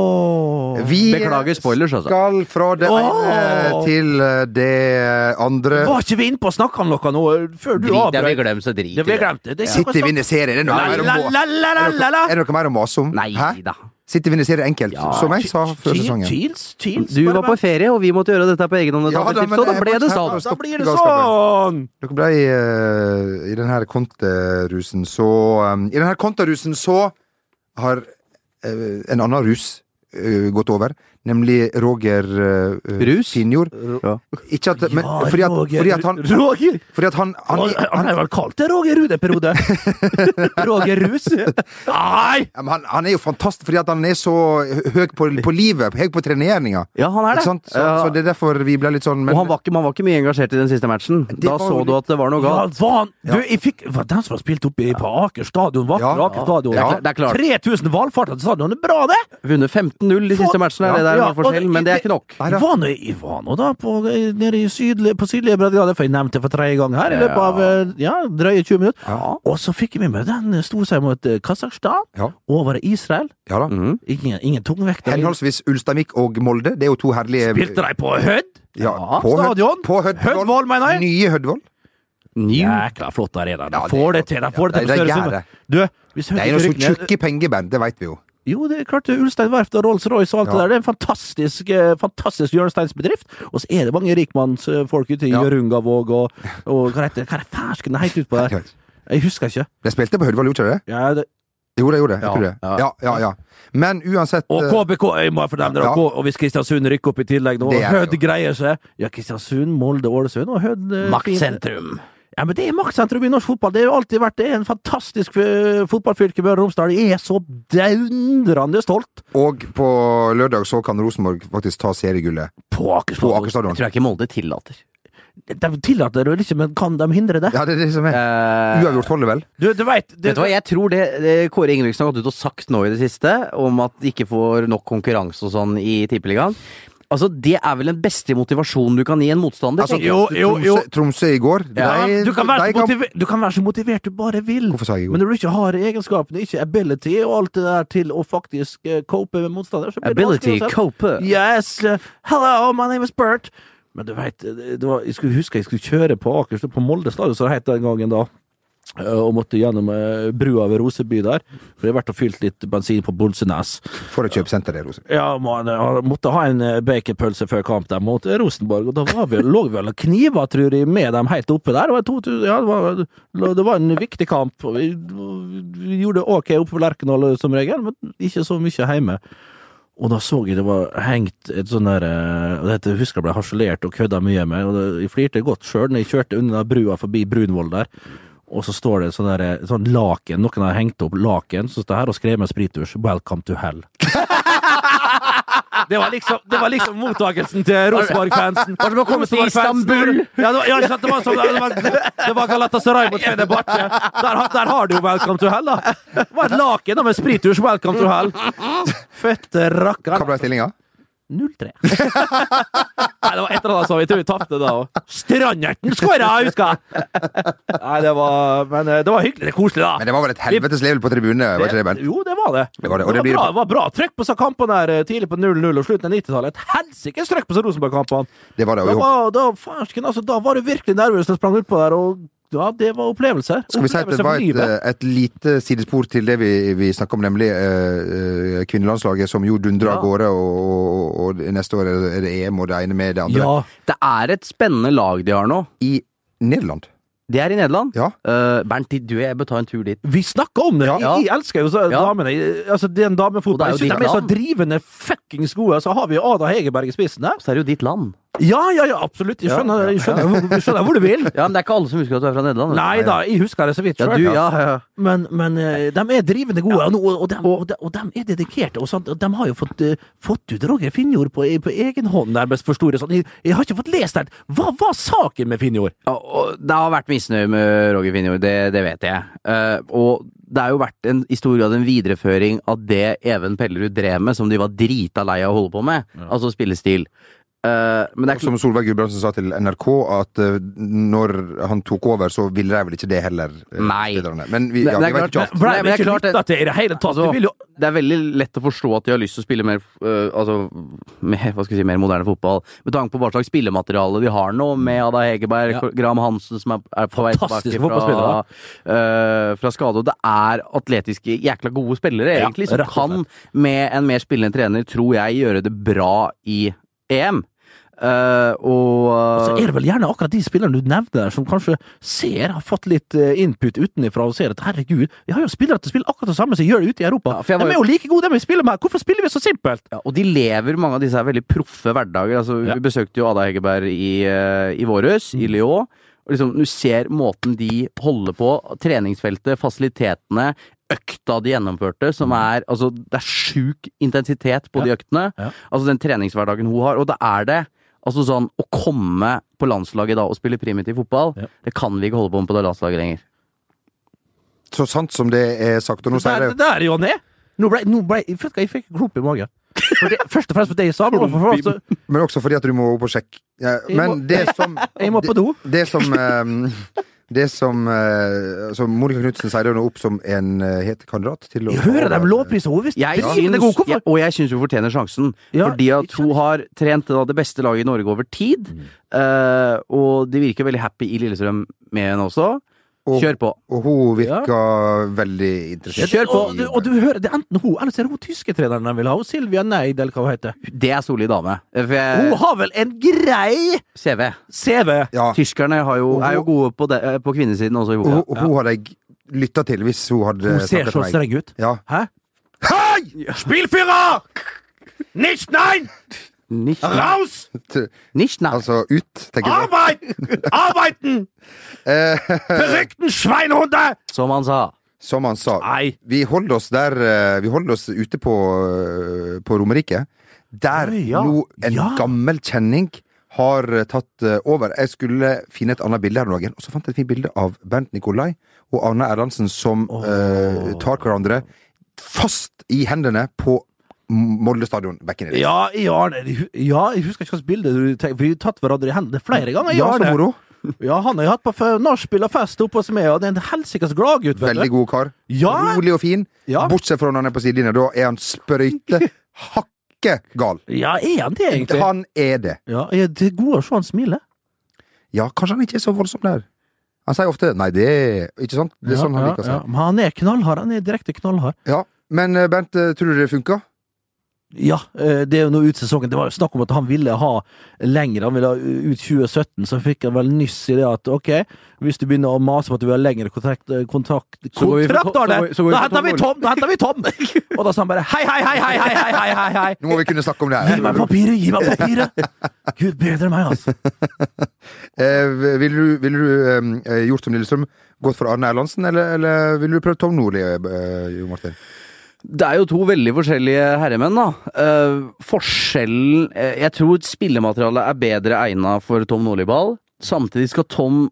[SPEAKER 2] Åh.
[SPEAKER 1] Vi
[SPEAKER 3] Beklager spoilers, altså.
[SPEAKER 1] skal fra det
[SPEAKER 2] Åh!
[SPEAKER 1] ene til eh, det andre.
[SPEAKER 2] Var ikke vi inne på å snakke om noe nå før du
[SPEAKER 3] Drit, det blir
[SPEAKER 2] avbrøt?
[SPEAKER 3] glemt, så drit i
[SPEAKER 2] Det ble glemt. Det, det,
[SPEAKER 1] Sitter vi inne i serien? Er det noe
[SPEAKER 2] La,
[SPEAKER 1] mer å
[SPEAKER 2] la,
[SPEAKER 1] må-
[SPEAKER 2] la, la, la, la, la.
[SPEAKER 1] Er det noe mer å mase om?
[SPEAKER 3] Nei
[SPEAKER 1] Hæ?
[SPEAKER 3] da.
[SPEAKER 1] Sitter vi inne i serien enkelt, som jeg sa før sesongen?
[SPEAKER 2] Chills, chills.
[SPEAKER 3] Du var på ferie, og vi måtte gjøre dette på egen hånd.
[SPEAKER 1] Ja, da,
[SPEAKER 3] David,
[SPEAKER 1] men
[SPEAKER 3] så da
[SPEAKER 1] jeg
[SPEAKER 3] ble
[SPEAKER 1] måtte her
[SPEAKER 3] det sånn.
[SPEAKER 1] også.
[SPEAKER 2] Da blir det
[SPEAKER 1] Stopp
[SPEAKER 2] sånn!
[SPEAKER 1] Dere ble eh, I den her konterusen så eh, I den her konterusen så har eh, en annen rus eh, gått over, nemlig Roger uh,
[SPEAKER 3] Rus?
[SPEAKER 1] Finjord. Ikke at Men
[SPEAKER 2] Ja,
[SPEAKER 1] fordi, at,
[SPEAKER 2] Roger-
[SPEAKER 1] fordi at han
[SPEAKER 2] Roger!
[SPEAKER 1] Fordi at han, han,
[SPEAKER 2] Han,
[SPEAKER 1] han,
[SPEAKER 2] han er vel kalt det Roger Ruud en
[SPEAKER 3] (laughs)
[SPEAKER 2] periode? Roger Rus? Nei!
[SPEAKER 1] Ja, men han, han er jo fantastisk fordi at han er så hø- høy på, på livet, høy på treneringa.
[SPEAKER 3] Ja, han er
[SPEAKER 1] Ikke
[SPEAKER 3] det.
[SPEAKER 1] sant? Så,
[SPEAKER 3] Ja.
[SPEAKER 1] så det er derfor vi ble litt sånn men,
[SPEAKER 3] og han var ikke, man var ikke mye engasjert i den siste matchen. Da
[SPEAKER 1] var jo
[SPEAKER 3] så du at det var noe
[SPEAKER 2] Ja,
[SPEAKER 3] galt.
[SPEAKER 2] var han, du, jeg fikk, var den som har spilt oppe i- på Aker stadion? Vakre
[SPEAKER 1] Ja.
[SPEAKER 2] Aker stadion.
[SPEAKER 3] Ja, det er klart.
[SPEAKER 2] 3000 valfarter til stadion, det er bra, det!
[SPEAKER 3] Vunnet 15-0 de siste matchene, er det der
[SPEAKER 2] Ja,
[SPEAKER 3] var forskjell,
[SPEAKER 2] og-
[SPEAKER 3] men det er ikke nok.
[SPEAKER 1] Nei,
[SPEAKER 2] Jeg
[SPEAKER 1] da.
[SPEAKER 2] var nå, jeg var nå da på, eh, nede i sydlig, på sydlige Breddegrader, for jeg nevnte det for tredje gang her, i løpet av eh, ja, drøye 20 minutter. Og så fikk jeg med meg den storseieren mot eh, Kasakhstan.
[SPEAKER 1] Ja.
[SPEAKER 2] Over Israel.
[SPEAKER 1] Ja da.
[SPEAKER 2] Ingen, ingen tungvekter.
[SPEAKER 1] Henholdsvis Ulsteinvik og Molde. Det er jo to herlige
[SPEAKER 2] Spilte de på Hødd?
[SPEAKER 1] ja, på Hød-
[SPEAKER 2] stadion.
[SPEAKER 1] På Hødvoll.
[SPEAKER 2] Hødvoll, mener jeg.
[SPEAKER 1] Nye Hødvoll.
[SPEAKER 3] New.
[SPEAKER 2] Jækla flott arena. De
[SPEAKER 1] Ja, det er
[SPEAKER 2] får det
[SPEAKER 1] flott.
[SPEAKER 2] til. De får det
[SPEAKER 1] Ja,
[SPEAKER 2] til
[SPEAKER 1] de-
[SPEAKER 2] med
[SPEAKER 1] de
[SPEAKER 2] større
[SPEAKER 1] gjør
[SPEAKER 2] summer.
[SPEAKER 1] det.
[SPEAKER 2] Du, hvis Hødd
[SPEAKER 1] Det er jo så
[SPEAKER 2] ikke rykker ned
[SPEAKER 1] tjukke pengeband, det veit vi jo.
[SPEAKER 2] Jo, det er klart det er Ulstein Verft og Rolls-Royce og alt det
[SPEAKER 1] Ja.
[SPEAKER 2] der. Det er en fantastisk, eh, fantastisk hjørnesteinsbedrift. Og så er det mange rikmannsfolk ute i
[SPEAKER 1] Ja.
[SPEAKER 2] Hjørungavåg og, og hva heter det? Hva er det fersken det heter utpå der? Jeg husker ikke.
[SPEAKER 1] De spilte på Hødvoll, gjorde de ikke det?
[SPEAKER 2] Ja, det,
[SPEAKER 1] Jo, de gjorde det. Jeg
[SPEAKER 3] Ja,
[SPEAKER 1] tror det.
[SPEAKER 3] ja.
[SPEAKER 1] Ja, ja, ja. Men uansett
[SPEAKER 2] og
[SPEAKER 1] eh,
[SPEAKER 2] KBK jeg må for dem, der,
[SPEAKER 1] Ja.
[SPEAKER 2] og, K- og hvis Kristiansund rykker opp i tillegg nå, og
[SPEAKER 1] Det er
[SPEAKER 2] Hødd
[SPEAKER 1] det jo.
[SPEAKER 2] greier seg Ja, Kristiansund, Molde, Ålesund og Hødd eh, fint.
[SPEAKER 3] Maktsentrum.
[SPEAKER 2] Ja, men Det er maktsentrum i norsk fotball. Det har jo alltid vært det. er En fantastisk eh, fotballfylke Møre og Romsdal. Jeg er så dundrende stolt
[SPEAKER 1] eh, Og på lørdag så kan Rosenborg faktisk ta seriegullet
[SPEAKER 2] på
[SPEAKER 1] på
[SPEAKER 2] Akersborg.
[SPEAKER 1] Aker stadion.
[SPEAKER 3] Tror jeg ikke Molde tillater.
[SPEAKER 2] De tillater det jo ikke, men kan de hindre det?
[SPEAKER 1] Ja, det er det som er.
[SPEAKER 3] Eh,
[SPEAKER 1] Uavgjort holder vel?
[SPEAKER 2] Du, du vet, det,
[SPEAKER 3] Vet du hva, jeg tror det, det Kåre Ingebrigtsen har gått ut og sagt nå i det siste, om at de ikke får nok konkurranse og sånn i Tippeligaen. Altså, det er vel den beste motivasjonen du kan gi en motstander?
[SPEAKER 1] Altså,
[SPEAKER 3] tenker jeg.
[SPEAKER 2] Jo, jo, jo.
[SPEAKER 1] Tromsø, Tromsø i går
[SPEAKER 2] Ja,
[SPEAKER 1] de-
[SPEAKER 2] du, kan være
[SPEAKER 1] de
[SPEAKER 2] så motive- du kan være så motivert du bare vil,
[SPEAKER 1] Hvorfor sa jeg jo?
[SPEAKER 2] men når du ikke har egenskapene, ikke ability og alt det der til å faktisk eh, cope med motstander, så blir det
[SPEAKER 3] Ability,
[SPEAKER 2] vanskelig å se.
[SPEAKER 3] cope.
[SPEAKER 2] Yes! eh, hello, my name is Bert! Men du veit, det var, jeg skulle huske jeg skulle kjøre på Akerstad, på Molde stadion, så det het den gangen da. eh, Og måtte gjennom eh, brua ved Roseby der, for jeg har vært og fylt litt bensin på Bolsenes.
[SPEAKER 1] For et kjøpesenter, det, Rosenborg.
[SPEAKER 2] Ja, man eh, måtte ha en eh, baconpølse før kamp der mot eh, Rosenborg, og da var vi, (laughs) lå vi vel og kniva, tror jeg, med dem helt oppe der. Det var, 2000, ja, det var, det var en viktig kamp. og Vi, vi gjorde det ok oppe på Lerkendal eh, som regel, men ikke så mye hjemme. Og da så jeg det var hengt et sånn der eh, og Dette husker jeg ble harselert og kødda mye med, og det- jeg flirte godt sjøl når jeg kjørte under den brua forbi Brunvoll der. Og så står det sånn, der, eh, sånn laken, noen har hengt opp laken, så står det her og skrev med sprittusj 'Welcome to
[SPEAKER 3] (laughs)
[SPEAKER 2] hell'. Det var liksom, det var liksom mottakelsen til Rosenborg-fansen.
[SPEAKER 3] Var det som å komme til
[SPEAKER 2] Rosenborg-fansen.
[SPEAKER 3] Istanbul?
[SPEAKER 2] Ja, det var, ja, ikke sant, det var, sånn, det var, det var Galatasaray mot Fenerbahçe. Der, har- der har du jo 'Welcome to hell', da. Det var et laken da, med sprittusj 'Welcome to hell'. Føtte rakkeren.
[SPEAKER 1] Hva ble stillinga?
[SPEAKER 2] 0-3. Nei, det var et eller annet sånt. Jeg tror vi tapte da òg. Stranderten skåra, husker jeg! Nei, det var Men eh, det var hyggelig. Det er koselig, da.
[SPEAKER 1] Men det var vel et helvetes level på tribunene? Var ikke det, Bent?
[SPEAKER 2] jo, det var det.
[SPEAKER 1] Det var det, og det blir-
[SPEAKER 2] bra, det var bra trøkk på disse kampene her, eh, tidlig på 0-0 og slutten av 90-tallet. Et helsikes trøkk på disse Rosenborg-kampene.
[SPEAKER 1] Det var det. og
[SPEAKER 2] Da,
[SPEAKER 1] jeg håper-
[SPEAKER 2] var- da, farsken, altså, da var du virkelig nervøs da du sprang utpå der, og ja, det var opplevelser.
[SPEAKER 1] Skal vi si at det
[SPEAKER 2] Opplevelser
[SPEAKER 1] var
[SPEAKER 2] for
[SPEAKER 1] et,
[SPEAKER 2] livet.
[SPEAKER 1] eh, et lite sidespor til det vi, vi snakka om, nemlig eh, eh, kvinnelandslaget som jo dundrer av
[SPEAKER 2] Ja.
[SPEAKER 1] gårde, og, og, og neste år er det- er det EM og det ene med det andre.
[SPEAKER 2] Ja.
[SPEAKER 3] Det er et spennende lag de har nå.
[SPEAKER 1] I Nederland.
[SPEAKER 3] Det er i Nederland.
[SPEAKER 1] Ja.
[SPEAKER 3] Eh, Bernt, du og jeg bør ta en tur dit.
[SPEAKER 2] Vi snakker om det!
[SPEAKER 3] Ja.
[SPEAKER 2] Jeg, jeg elsker jo så,
[SPEAKER 3] Ja.
[SPEAKER 2] damene. Jeg- Altså, den
[SPEAKER 3] Og det er
[SPEAKER 2] damefotballen.
[SPEAKER 3] jo
[SPEAKER 2] Jeg synes
[SPEAKER 3] ditt
[SPEAKER 2] de er så
[SPEAKER 3] navn.
[SPEAKER 2] drivende fuckings gode. Så har vi jo Ada Hegerberg i spissen der.
[SPEAKER 3] Så er det jo ditt land.
[SPEAKER 2] Ja, ja, ja, absolutt. Jeg skjønner, jeg skjønner, hvor- jeg skjønner hvor du
[SPEAKER 3] (laughs)
[SPEAKER 2] vil.
[SPEAKER 3] Ja, men det er ikke alle som husker at du er fra Nederland. vet du.
[SPEAKER 2] Nei da, jeg husker det så vidt.
[SPEAKER 3] Ja,
[SPEAKER 2] selv,
[SPEAKER 3] du, ja, ja.
[SPEAKER 2] Men, men eh, de er drivende gode, og, nå- og, de, og, de, og dem er dedikerte. Og sånt, og de har jo fått, eh, fått ut Roger Finjord på, på egen hånd, nærmest for store. Sånn. Jeg, jeg har ikke fått lest den! Hva var saken med Finjord?
[SPEAKER 3] Ja, og Det har vært misnøye med Roger Finjord, det, det vet jeg. Eh, og det har jo vært en, i stor grad en videreføring av det Even Pellerud drev med, som de var drita lei av å holde på med. Altså spillestil. Eh, men det er
[SPEAKER 1] Og Som Solveig Gudbrandsen sa til NRK, at eh, når han tok over, så ville de vel ikke det heller. eh,
[SPEAKER 3] Nei.
[SPEAKER 1] spillerne. Men vi,
[SPEAKER 3] Det-
[SPEAKER 1] ja,
[SPEAKER 3] det
[SPEAKER 1] det
[SPEAKER 3] er
[SPEAKER 1] var
[SPEAKER 3] klart,
[SPEAKER 1] ikke alt.
[SPEAKER 3] Nei,
[SPEAKER 2] Blei
[SPEAKER 3] men
[SPEAKER 2] vi
[SPEAKER 3] det er
[SPEAKER 2] ikke
[SPEAKER 3] klart
[SPEAKER 2] lytta
[SPEAKER 3] at-
[SPEAKER 2] til i det hele tatt?
[SPEAKER 3] Altså,
[SPEAKER 2] Det vil jo
[SPEAKER 3] det er veldig lett å forstå at de har lyst til å spille mer, øh, altså, mer, hva skal jeg si, mer moderne fotball, med tanke på hva slags spillemateriale de har nå, med Ada Hegerberg,
[SPEAKER 2] Ja.
[SPEAKER 3] Kor- Graham Hansen, som er, er på vei
[SPEAKER 2] Fantastiske
[SPEAKER 3] tilbake fra,
[SPEAKER 2] fotballspillere.
[SPEAKER 3] øh, fra skade. Og det er atletiske, jækla gode spillere,
[SPEAKER 2] Ja,
[SPEAKER 3] egentlig, som
[SPEAKER 2] rett og
[SPEAKER 3] kan, med en mer spillende trener, tror jeg, gjøre det bra i EM. Eh, og
[SPEAKER 2] så er det vel gjerne akkurat de spillerne du nevner der, som kanskje ser, har fått litt eh, input utenfra og ser at herregud, vi har jo spillere til å spille akkurat det samme som gjør det ute i Europa.
[SPEAKER 3] Ja, for jeg var
[SPEAKER 2] De er
[SPEAKER 3] jo-
[SPEAKER 2] jo like gode, de vi spiller med! Hvorfor spiller vi så simpelt?
[SPEAKER 3] Ja, og de lever, mange av disse her, veldig proffe hverdager. Altså,
[SPEAKER 2] Ja. Mm.
[SPEAKER 3] Vi besøkte jo Ada Hegerberg i, eh, i våres, i Lyon. Og liksom, du ser måten de holder på, treningsfeltet, fasilitetene, økta de gjennomførte, som er Altså, det er sjuk intensitet på de øktene.
[SPEAKER 2] Mm. Ja.
[SPEAKER 3] Altså den treningshverdagen hun har. Og det er det. Altså sånn, Å komme på landslaget da og spille primitiv fotball,
[SPEAKER 2] Ja.
[SPEAKER 3] det kan vi ikke holde på med på det landslaget lenger.
[SPEAKER 1] Så sant som det er sagt. Og nå
[SPEAKER 2] Det
[SPEAKER 1] sier
[SPEAKER 2] der,
[SPEAKER 1] jeg
[SPEAKER 2] det der, Jonny! Nå ble, nå ble, jeg, vet du hva, jeg fikk klump i magen. For det, først og fremst for det jeg sa, men for, for, for,
[SPEAKER 1] Men også fordi at du må opp og sjekke. Ja,
[SPEAKER 2] Jeg
[SPEAKER 1] men
[SPEAKER 2] må-
[SPEAKER 1] det
[SPEAKER 2] (laughs)
[SPEAKER 1] som
[SPEAKER 2] Jeg må på do.
[SPEAKER 1] Det, det som eh, Det som, eh, som Monica Knutsen sier, det er nå opp som en eh, het kandidat til å
[SPEAKER 2] Jeg hører dem lovprise henne visst.
[SPEAKER 3] Jeg
[SPEAKER 2] Drivende
[SPEAKER 3] syns,
[SPEAKER 2] god, hvorfor?
[SPEAKER 3] jeg, og jeg syns hun fortjener sjansen.
[SPEAKER 2] Ja,
[SPEAKER 3] fordi at hun har trent da, det beste laget i Norge over tid.
[SPEAKER 1] Mm.
[SPEAKER 3] eh, og de virker veldig happy i Lillestrøm med henne også.
[SPEAKER 1] Og-
[SPEAKER 3] Kjør på.
[SPEAKER 1] Og hun virka veldig interessert.
[SPEAKER 3] Kjør på.
[SPEAKER 2] Og, du- og du hører, det er enten hun, eller så er det hun tyske treneren de vil ha. Hun Silvia Neid, eller hva hun heter.
[SPEAKER 3] Det er solid dame. Eh, For jeg,
[SPEAKER 2] Hun har vel en grei
[SPEAKER 3] CV.
[SPEAKER 2] CV!
[SPEAKER 1] Ja, og
[SPEAKER 3] Tyskerne har jo, er jo gode på, det, eh, på kvinnesiden også i
[SPEAKER 1] hun,
[SPEAKER 3] boka.
[SPEAKER 1] hun hadde jeg lytta til hvis hun hadde
[SPEAKER 2] Hun ser
[SPEAKER 1] snakket
[SPEAKER 2] så
[SPEAKER 1] til meg.
[SPEAKER 2] streng ut.
[SPEAKER 1] Ja.
[SPEAKER 2] Hæ? Hei! Spillfyrer! Nicht nein!
[SPEAKER 3] Nicht,
[SPEAKER 2] Raus!
[SPEAKER 1] T-
[SPEAKER 3] nicht nei.
[SPEAKER 1] Altså ut, tenker jeg.
[SPEAKER 2] Arbeid! Arbeiden! Berykten Schweinhunde!
[SPEAKER 3] Som han sa.
[SPEAKER 1] Som han sa.
[SPEAKER 2] Nei.
[SPEAKER 1] Vi holder oss der eh, Vi holder oss ute på, eh, på Romerike. Der
[SPEAKER 2] Oi, ja.
[SPEAKER 1] nå en
[SPEAKER 2] Ja.
[SPEAKER 1] gammel kjenning har eh, tatt eh, over. Jeg skulle finne et annet bilde her om dagen, og så fant jeg et fint bilde av Bernt Nikolai og Arne Erlandsen som eh, tar hverandre fast i hendene på Molde stadion back in the days.
[SPEAKER 2] Ja, i Arne Ja, jeg husker ikke hvilket bilde du tenker Vi har tatt hverandre i hendene flere ganger. i
[SPEAKER 1] Ja, så
[SPEAKER 2] Arne.
[SPEAKER 1] moro.
[SPEAKER 2] Ja, han har jeg hatt på f- nachspiel og fest oppe hos meg, og det er en helsikes gladgutt, vet
[SPEAKER 1] Veldig
[SPEAKER 2] du.
[SPEAKER 1] god kar.
[SPEAKER 2] Ja.
[SPEAKER 1] Rolig og fin.
[SPEAKER 2] Ja.
[SPEAKER 1] Bortsett fra når han er på sidelinja. Da er han sprøyte
[SPEAKER 2] (laughs)
[SPEAKER 1] hakke gal.
[SPEAKER 2] Ja, er han det, egentlig?
[SPEAKER 1] Han er det.
[SPEAKER 2] Ja, er det er god å se han smile.
[SPEAKER 1] Ja, kanskje han ikke er så voldsom der. Han sier ofte 'nei, det er Ikke sant? Det er sånn han
[SPEAKER 2] ja,
[SPEAKER 1] liker å
[SPEAKER 2] ja.
[SPEAKER 1] si.
[SPEAKER 2] Men han er knallhard. Han er direkte knallhard.
[SPEAKER 1] Ja. Men eh, Bernt, eh, tror du det funka?
[SPEAKER 2] Ja, eh, det er jo nå ut sesongen. Det var jo snakk om at han ville ha lenger. Han ville ha ut 2017, så fikk han vel nyss i det at ok, hvis du begynner å mase om at du vil ha lengre kontrakt, eh, kontrakt
[SPEAKER 3] Så går vi for-
[SPEAKER 2] Kontrakt, Arne!
[SPEAKER 3] så går- så går vi
[SPEAKER 2] Da
[SPEAKER 3] for
[SPEAKER 2] henter vi Tom! Da henter vi Tom!
[SPEAKER 3] (laughs)
[SPEAKER 2] og da sa han bare hei, hei, hei, hei, hei, hei, hei, hei, hei.
[SPEAKER 1] Nå må vi kunne snakke om det
[SPEAKER 2] Gi meg
[SPEAKER 1] her.
[SPEAKER 2] papiret! Gi meg papiret! Gud bedre meg, altså.
[SPEAKER 1] Eh, ville du, ville du eh, eh, gjort som Lillestrøm? Gått for Arne Erlandsen, eller, eller ville du prøvd Tom Nordli, eh, Jo Martin?
[SPEAKER 3] Det er jo to veldig forskjellige herremenn, da. Eh, forskjellen eh, Jeg tror spillematerialet er bedre egna for Tom Nordli-ball. Samtidig skal Tom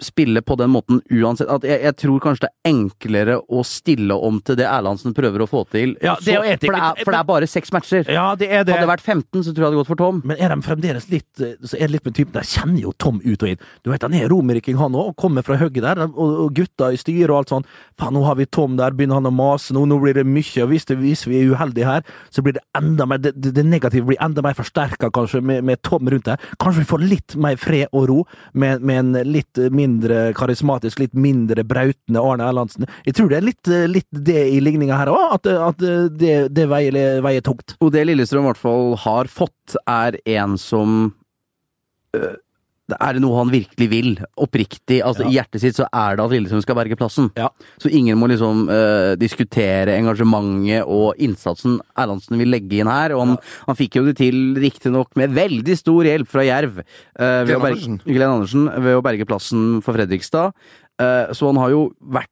[SPEAKER 3] spille på den måten uansett at jeg, jeg tror kanskje det er enklere å stille om til det Erlandsen prøver å få til.
[SPEAKER 2] Ja, det er jo
[SPEAKER 3] Så-
[SPEAKER 2] en ting,
[SPEAKER 3] for, det
[SPEAKER 2] men-
[SPEAKER 3] er, for det er bare seks matcher.
[SPEAKER 2] Ja, det er det.
[SPEAKER 3] Hadde det vært 15, så tror jeg det hadde gått for Tom.
[SPEAKER 2] Men er de fremdeles litt eh, Så er det litt med typen Jeg kjenner jo Tom ut og inn. Du vet, Han er romeriking, han òg, og kommer fra høgget der. Og, og gutta i styret og alt sånn. Faen, nå har vi Tom der, begynner han å mase nå, nå blir det mye. Og hvis, det, hvis vi er uheldige her, så blir det enda mer Det, det det negative blir enda mer forsterka, kanskje, med, med Tom rundt der. Kanskje vi får litt mer fred og ro med, med en litt mindre karismatisk, litt mindre brautende Arne Erlandsen. Jeg tror det er litt, eh, litt det i ligninga her òg, at, at eh, det, det veier, veier tungt.
[SPEAKER 3] Og det Lillestrøm i hvert fall har fått, er en som øh, Er det noe han virkelig vil, oppriktig, altså i hjertet sitt, så er det at Lillestrøm skal berge plassen.
[SPEAKER 2] Ja.
[SPEAKER 3] Så ingen må liksom eh, diskutere engasjementet og innsatsen Erlandsen vil legge inn her. Og han, han fikk jo det til, riktignok med veldig stor hjelp fra Jerv. eh,
[SPEAKER 1] Glenn
[SPEAKER 3] ved å berge-
[SPEAKER 1] Andersen.
[SPEAKER 3] Glenn Andersen. Ved å berge plassen for Fredrikstad. Eh, så han har jo vært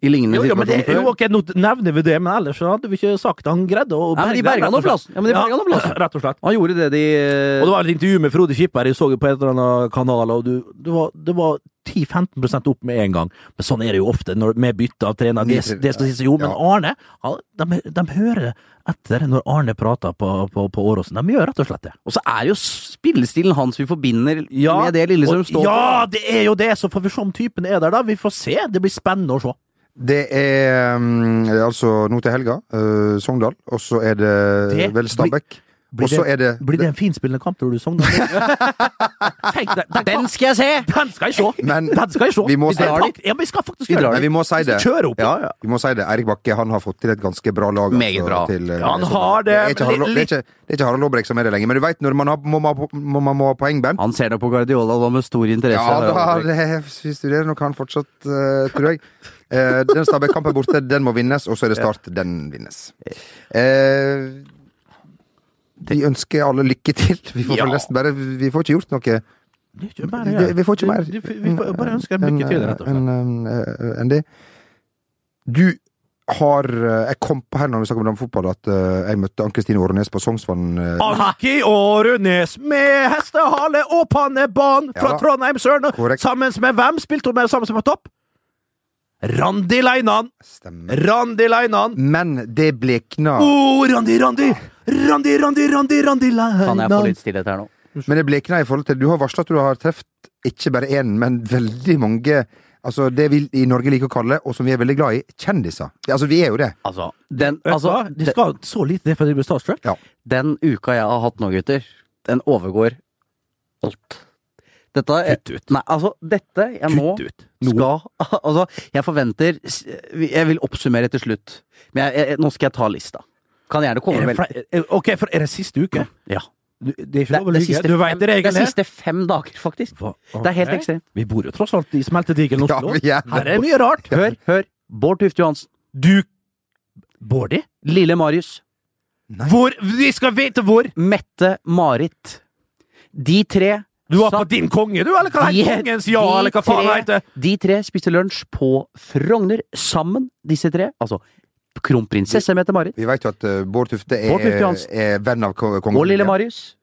[SPEAKER 3] i lignende
[SPEAKER 2] Jo, ja, men det,
[SPEAKER 3] situasjoner
[SPEAKER 2] jo, ok, nå nevner vi det, men ellers så hadde vi ikke sagt han greide å
[SPEAKER 3] Nei, men de berga
[SPEAKER 2] rett og
[SPEAKER 3] noe
[SPEAKER 2] slett.
[SPEAKER 3] plass. Ja, men de berga noe plass.
[SPEAKER 2] (clears throat) Rett og slett.
[SPEAKER 3] Han gjorde det de øh,
[SPEAKER 2] Og det var et intervju med Frode Skipper, jeg så det på et eller annet kanal, og du, det var, det var 10-15 opp med en gang. Men sånn er det jo ofte når, med bytte av trener. Det, det skal sies jo, men Arne ja, de, de hører etter når Arne prater på, på, på Åråsen. De gjør rett og slett det.
[SPEAKER 3] Og så er jo spillestilen hans vi forbinder med det Lillestrøm
[SPEAKER 2] og-
[SPEAKER 3] står
[SPEAKER 2] Ja, det er jo det! Så får vi se om typen er der, da. Vi får se. Det blir spennende å se.
[SPEAKER 1] Det er mm, altså nå til helga, eh, Sogndal, og så er det,
[SPEAKER 2] Det
[SPEAKER 1] vel Stabæk.
[SPEAKER 2] Blir
[SPEAKER 1] Og så er det
[SPEAKER 2] blir det en finspillende kamp, tror du, Sogndal? (laughs) Tenk deg, den,
[SPEAKER 3] Den skal jeg se!
[SPEAKER 2] den skal jeg se!
[SPEAKER 1] Men
[SPEAKER 2] (laughs) Den skal jeg se!
[SPEAKER 1] vi må
[SPEAKER 2] skal,
[SPEAKER 1] se-
[SPEAKER 2] fakt- ja, vi skal faktisk
[SPEAKER 3] Vi
[SPEAKER 2] gjøre
[SPEAKER 3] drar
[SPEAKER 2] det.
[SPEAKER 1] Nei, vi må si det.
[SPEAKER 2] Kjør opp.
[SPEAKER 1] Ja, ja. Vi må si det. Eirik Bakke han har fått til et ganske bra lag.
[SPEAKER 3] Meget bra.
[SPEAKER 1] til, eh,
[SPEAKER 2] Ja, han
[SPEAKER 1] Sogndal.
[SPEAKER 2] har det,
[SPEAKER 1] Det er ikke
[SPEAKER 2] men
[SPEAKER 1] Harald, det er
[SPEAKER 2] litt-
[SPEAKER 1] ikke, det er ikke Harald Aabrekk som er det lenger. Men du veit når man, har, må, man ha- må, man må ha poengband.
[SPEAKER 3] Han ser det på Guardiola da med stor interesse.
[SPEAKER 1] Ja, da,
[SPEAKER 3] Harald.
[SPEAKER 1] det, vi studerer nok han fortsatt, eh, tror jeg. Eh, den Stabæk-kampen borte, den må vinnes, og så er det Start, den vinnes. Eh, vi ønsker alle lykke til. Vi får
[SPEAKER 2] Ja.
[SPEAKER 1] forresten bare Vi får ikke gjort noe.
[SPEAKER 2] Det er ikke mer å
[SPEAKER 1] Det,
[SPEAKER 2] gjøre.
[SPEAKER 1] vi får ikke mer. eh,
[SPEAKER 2] Vi, vi, vi får bare ønsker dem
[SPEAKER 1] enn-
[SPEAKER 2] lykke til, rett og slett.
[SPEAKER 1] enn- enn- enn det. Du har eh, Jeg kom på her når vi snakket om damefotball, at eh, jeg møtte Ann-Kristin Årenes på Sognsvann. eh,
[SPEAKER 2] Ah! Anki Årenes med hestehale og pannebånd fra
[SPEAKER 1] Ja.
[SPEAKER 2] Trondheim Sørn.
[SPEAKER 1] Korrekt.
[SPEAKER 2] Sammen med hvem spilte hun med sammen som på topp? Randi Leinan!
[SPEAKER 1] Stemmer.
[SPEAKER 2] Randi Leinan!
[SPEAKER 1] Men det blekna
[SPEAKER 2] Å, Randi, Randi! Randi, Randi, Randi, Randi
[SPEAKER 3] Kan jeg få
[SPEAKER 2] Leinan!
[SPEAKER 3] litt stillhet her nå?
[SPEAKER 1] Men det blekna i forhold til Du har varsla at du har truffet ikke bare én, men veldig mange Altså det vi i Norge liker å kalle, og som vi er veldig glad i, kjendiser. Altså vi er jo det.
[SPEAKER 3] Altså, den,
[SPEAKER 2] Vet du
[SPEAKER 3] altså,
[SPEAKER 2] hva? De
[SPEAKER 3] den,
[SPEAKER 2] skal så lite ned for at de blir starstruck.
[SPEAKER 1] Ja.
[SPEAKER 3] den uka jeg har hatt nå, gutter, den overgår alt. Dette er-
[SPEAKER 2] Kutt ut.
[SPEAKER 3] Nei, altså, dette jeg nå
[SPEAKER 2] Kutt ut.
[SPEAKER 3] skal (laughs) Altså, jeg forventer Jeg vil oppsummere til slutt. Men jeg, jeg, nå skal jeg ta lista. Kan gjerne komme
[SPEAKER 2] Er det
[SPEAKER 3] med
[SPEAKER 2] fle- er- Ok, for er det siste uke?
[SPEAKER 3] Ja.
[SPEAKER 2] Du- Det er
[SPEAKER 3] Det
[SPEAKER 2] ikke
[SPEAKER 3] er,
[SPEAKER 2] lov å
[SPEAKER 3] det, er
[SPEAKER 2] lyve.
[SPEAKER 3] siste
[SPEAKER 2] Du
[SPEAKER 3] fem,
[SPEAKER 2] veit
[SPEAKER 3] det er
[SPEAKER 2] reglene.
[SPEAKER 3] siste fem dager, faktisk.
[SPEAKER 2] Hva?
[SPEAKER 3] Det er helt
[SPEAKER 2] Ok.
[SPEAKER 3] ekstremt.
[SPEAKER 2] Vi bor jo tross alt i smeltedigelen
[SPEAKER 1] Ja,
[SPEAKER 2] Oslo.
[SPEAKER 1] vi er det.
[SPEAKER 2] Her er det mye rart.
[SPEAKER 3] Hør, hør. Bård Tufte Johansen.
[SPEAKER 2] Du Bårdi?
[SPEAKER 3] Lille Marius.
[SPEAKER 2] Hvor Vi skal vite hvor!
[SPEAKER 3] Mette Marit. De tre
[SPEAKER 2] Du var på
[SPEAKER 3] satt-
[SPEAKER 2] din konge, du, eller hva
[SPEAKER 3] De-
[SPEAKER 2] heter kongens ja,
[SPEAKER 3] de
[SPEAKER 2] eller hva faen det
[SPEAKER 3] tre-
[SPEAKER 2] heter?
[SPEAKER 3] De tre spiste lunsj på Frogner sammen, disse tre. Altså kronprinsesse Mette Marit
[SPEAKER 1] Vi veit jo at eh, Bård Tufte er,
[SPEAKER 3] Bård Tufte Johansen.
[SPEAKER 1] er venn av ko- kongen.
[SPEAKER 3] og lille Marius.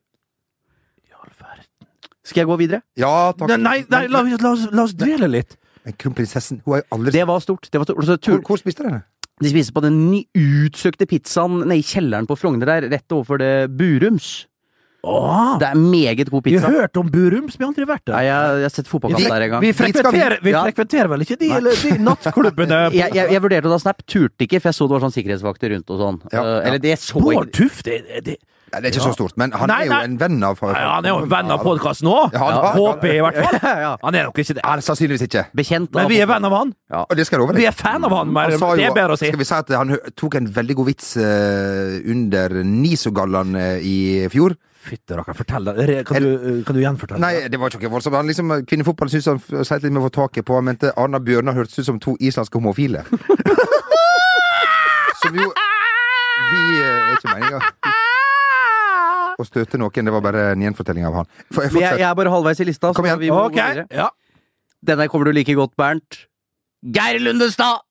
[SPEAKER 3] Skal jeg gå videre?
[SPEAKER 1] Ja, takk.
[SPEAKER 2] Nei, nei, nei la, la, oss, la oss dvele litt.
[SPEAKER 1] Men kronprinsessen, hun har jo aldri
[SPEAKER 3] Det var stort. Det var stort. Og så
[SPEAKER 1] Hvor,
[SPEAKER 3] tur-
[SPEAKER 1] hvor spiste dere?
[SPEAKER 3] De spiste på den ny- utsøkte pizzaen nede i kjelleren på Frogner der, rett overfor det Burums.
[SPEAKER 2] Åh,
[SPEAKER 3] Det er meget god
[SPEAKER 2] vi
[SPEAKER 3] pizza.
[SPEAKER 2] har hørt om Burums, vi har aldri vært
[SPEAKER 3] Nei,
[SPEAKER 2] der.
[SPEAKER 3] jeg, jeg har sett fotballkamp
[SPEAKER 1] Vi-
[SPEAKER 3] der en gang.
[SPEAKER 2] Vi
[SPEAKER 1] dit skal vi.
[SPEAKER 2] frekventerer, vi
[SPEAKER 3] Ja.
[SPEAKER 2] frekventerer vel ikke de, eller, de nattklubbene?
[SPEAKER 3] (laughs) jeg, jeg, jeg vurderte å ta snap, turte ikke, for jeg så det var sånn sikkerhetsvakter rundt og sånn.
[SPEAKER 1] Ja,
[SPEAKER 3] Eh,
[SPEAKER 1] ja.
[SPEAKER 3] Eller det så
[SPEAKER 2] Bård
[SPEAKER 3] jeg
[SPEAKER 2] Tuft, det, det
[SPEAKER 1] Nei, det er ikke
[SPEAKER 2] Ja.
[SPEAKER 1] så stort, men han
[SPEAKER 2] Nei,
[SPEAKER 1] er jo
[SPEAKER 2] nei.
[SPEAKER 1] en venn av
[SPEAKER 2] ja, Han er jo en venn av podkasten òg!
[SPEAKER 1] Ja, han-
[SPEAKER 2] Håper jeg, i hvert
[SPEAKER 1] (laughs)
[SPEAKER 2] fall.
[SPEAKER 3] ja.
[SPEAKER 2] Han er nok ikke det.
[SPEAKER 1] Ja, sannsynligvis ikke.
[SPEAKER 3] Bekjent
[SPEAKER 2] Men
[SPEAKER 3] av
[SPEAKER 2] vi er venn av han.
[SPEAKER 1] Og det skal jeg love
[SPEAKER 2] Vi
[SPEAKER 1] deg.
[SPEAKER 2] er fan av han,
[SPEAKER 1] Han
[SPEAKER 2] men
[SPEAKER 1] sa
[SPEAKER 2] det
[SPEAKER 1] jo-
[SPEAKER 2] er bedre å si.
[SPEAKER 1] Skal vi si at han hø- tok en veldig god vits eh, under Nisogallaen eh, i fjor?
[SPEAKER 2] Fytte rakker, fortell det. Re- Kan du, eh, kan du gjenfortelle? det?
[SPEAKER 1] Nei, det var ikke noe voldsomt. Han liksom, kvinnefotballen syntes han f- sleit litt med å få taket på. Han mente Arna Bjørnar hørtes ut som to islandske homofile. (laughs) Som jo Vi eh, er ikke meninga å støte noen. Det var bare en gjenfortelling av han. For jeg
[SPEAKER 3] Men jeg,
[SPEAKER 1] fortsetter.
[SPEAKER 3] jeg er bare halvveis i lista. så
[SPEAKER 1] Kom igjen.
[SPEAKER 3] vi må gå
[SPEAKER 2] Ok,
[SPEAKER 3] videre.
[SPEAKER 2] ja.
[SPEAKER 3] Denne kommer du like godt, Bernt. Geir Lundestad!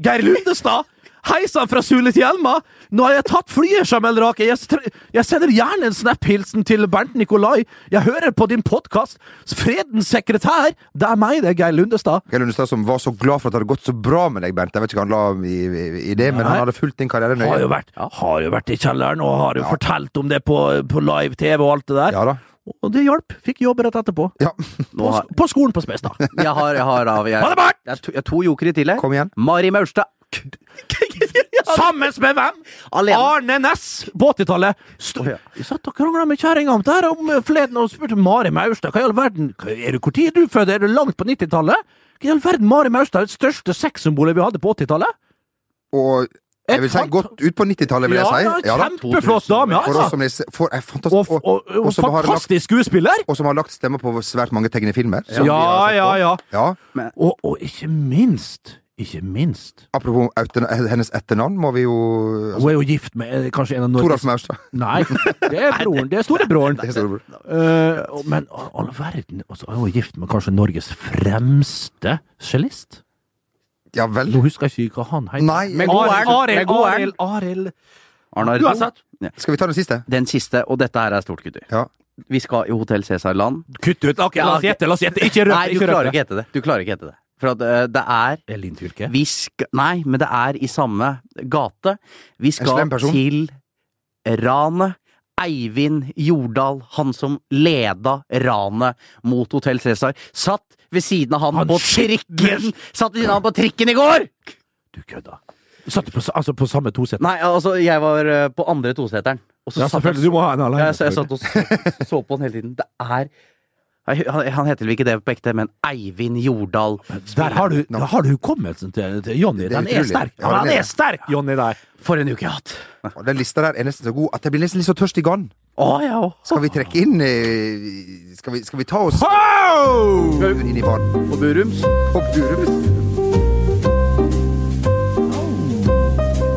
[SPEAKER 2] Geir Lundestad! Hei sann fra Sule til Hjelma! Nå har jeg tatt flyet, Jamel Rake. Jeg, stre- jeg sender gjerne en snap-hilsen til Bernt Nikolai. Jeg hører på din podkast. Fredens sekretær! Det er meg, det, Geir Lundestad.
[SPEAKER 1] Geir Lundestad som var så glad for at det hadde gått så bra med deg, Bernt. Jeg vet ikke hva han la i, i, i det, men
[SPEAKER 2] Nei.
[SPEAKER 1] han hadde fulgt din karriere
[SPEAKER 2] Har jo
[SPEAKER 1] nøye.
[SPEAKER 2] vært, har jo vært i kjelleren og har jo fortalt om det på, på live-TV og alt det der.
[SPEAKER 1] Ja da.
[SPEAKER 2] Og det hjalp. Fikk jobb rett etterpå.
[SPEAKER 1] Ja. (laughs)
[SPEAKER 2] På,
[SPEAKER 3] Nå har,
[SPEAKER 2] på skolen på Spestad.
[SPEAKER 3] jeg har, jeg har av jeg,
[SPEAKER 2] Ha det, Bernt!
[SPEAKER 3] jeg, har to- jeg har to jokere til. jeg.
[SPEAKER 1] Kom igjen.
[SPEAKER 3] Mari Maurstad.
[SPEAKER 2] (laughs) Sammen med hvem?
[SPEAKER 3] Alene.
[SPEAKER 2] Arne Næss på 80-tallet. Sto- Jeg satt og krangla med kjerringa om det her om eh, forleden og spurte Mari Maurstad hva i all verden hva- er du, Hvor tid er du født? Er du langt på 90-tallet? Hva i all verden Mari Maurstad er det største sexsymbolet vi hadde på 80-tallet?
[SPEAKER 1] Og Jeg vil si godt ut på 90-tallet, vil jeg si.
[SPEAKER 2] Ja,
[SPEAKER 1] Ja da.
[SPEAKER 2] kjempeflott dame,
[SPEAKER 1] For oss
[SPEAKER 2] altså!
[SPEAKER 1] som leser, for, er fantastisk,
[SPEAKER 2] Og, og, og,
[SPEAKER 1] og som har lagt,
[SPEAKER 2] fantastisk skuespiller!
[SPEAKER 1] og som har lagt stemme på svært mange tegnefilmer. som vi
[SPEAKER 2] Ja,
[SPEAKER 1] har sett
[SPEAKER 2] ja,
[SPEAKER 1] på.
[SPEAKER 2] ja.
[SPEAKER 1] Ja.
[SPEAKER 2] Og, og ikke minst Ikke minst
[SPEAKER 1] Apropos euten- hennes etternavn, må vi jo altså,
[SPEAKER 2] Hun er jo gift med eh, kanskje en av
[SPEAKER 1] Toralf
[SPEAKER 2] Norges
[SPEAKER 1] Maurstad.
[SPEAKER 2] Nei, det er broren. Det er storebroren.
[SPEAKER 1] Det er storebror.
[SPEAKER 2] Eh, og- men all all verden altså, Hun er gift med kanskje Norges fremste cellist?
[SPEAKER 1] Ja vel?
[SPEAKER 2] Nå husker jeg ikke hva han heter.
[SPEAKER 1] Nei.
[SPEAKER 3] Men god er
[SPEAKER 2] Arild,
[SPEAKER 3] den. Men
[SPEAKER 2] Arild,
[SPEAKER 3] god er
[SPEAKER 2] Arild, Arild.
[SPEAKER 3] Arnar,
[SPEAKER 2] Uansett.
[SPEAKER 1] Skal vi ta den siste?
[SPEAKER 3] den siste, og dette her er stort, gutter.
[SPEAKER 1] Ja.
[SPEAKER 3] Vi skal i Hotell Cæsarland.
[SPEAKER 2] Kutt ut. Ok, la oss gjette. La oss gjette. Ikke røp.
[SPEAKER 3] Nei, du klarer ikke hete det. Du klarer ikke hete det. For at eh, det er
[SPEAKER 2] Elin Tyrke.
[SPEAKER 3] vi sk Nei, men det er i samme gate. Vi skal
[SPEAKER 1] slem person.
[SPEAKER 3] til ranet. Eivind Jordal, han som leda ranet mot Hotell Cæsar, satt ved siden av han,
[SPEAKER 2] Han
[SPEAKER 3] på
[SPEAKER 2] skitne-
[SPEAKER 3] trikken! Satt ved siden av han på trikken i går!
[SPEAKER 2] Du kødda. Satt på, sa- altså, på samme tosett.
[SPEAKER 3] Nei, altså, jeg var eh, på andre toseteren. Og så
[SPEAKER 2] Ja,
[SPEAKER 3] satt
[SPEAKER 2] selvfølgelig. Du må ha en
[SPEAKER 3] Ja,
[SPEAKER 2] alene.
[SPEAKER 3] jeg, jeg satt og så, så på den hele tiden. Det er Nei, han, han heter vel ikke det på ekte, men Eivind Jordal.
[SPEAKER 2] Der har du, der har du hukommelsen til, til Jonny.
[SPEAKER 1] Det er
[SPEAKER 2] Den er
[SPEAKER 1] utrolig.
[SPEAKER 2] sterk.
[SPEAKER 1] Ja, den
[SPEAKER 2] Han
[SPEAKER 1] er
[SPEAKER 2] er
[SPEAKER 1] det.
[SPEAKER 2] sterk, Jonny der.
[SPEAKER 3] For en uke jeg har hatt!
[SPEAKER 1] Og Den lista der er nesten så god at jeg blir nesten litt så tørst i gann.
[SPEAKER 3] Å, ja.
[SPEAKER 1] Skal vi trekke inn eh, Skal vi, skal vi ta oss
[SPEAKER 2] Ho!
[SPEAKER 1] inn i vann?
[SPEAKER 3] På Burums.
[SPEAKER 1] På Burums?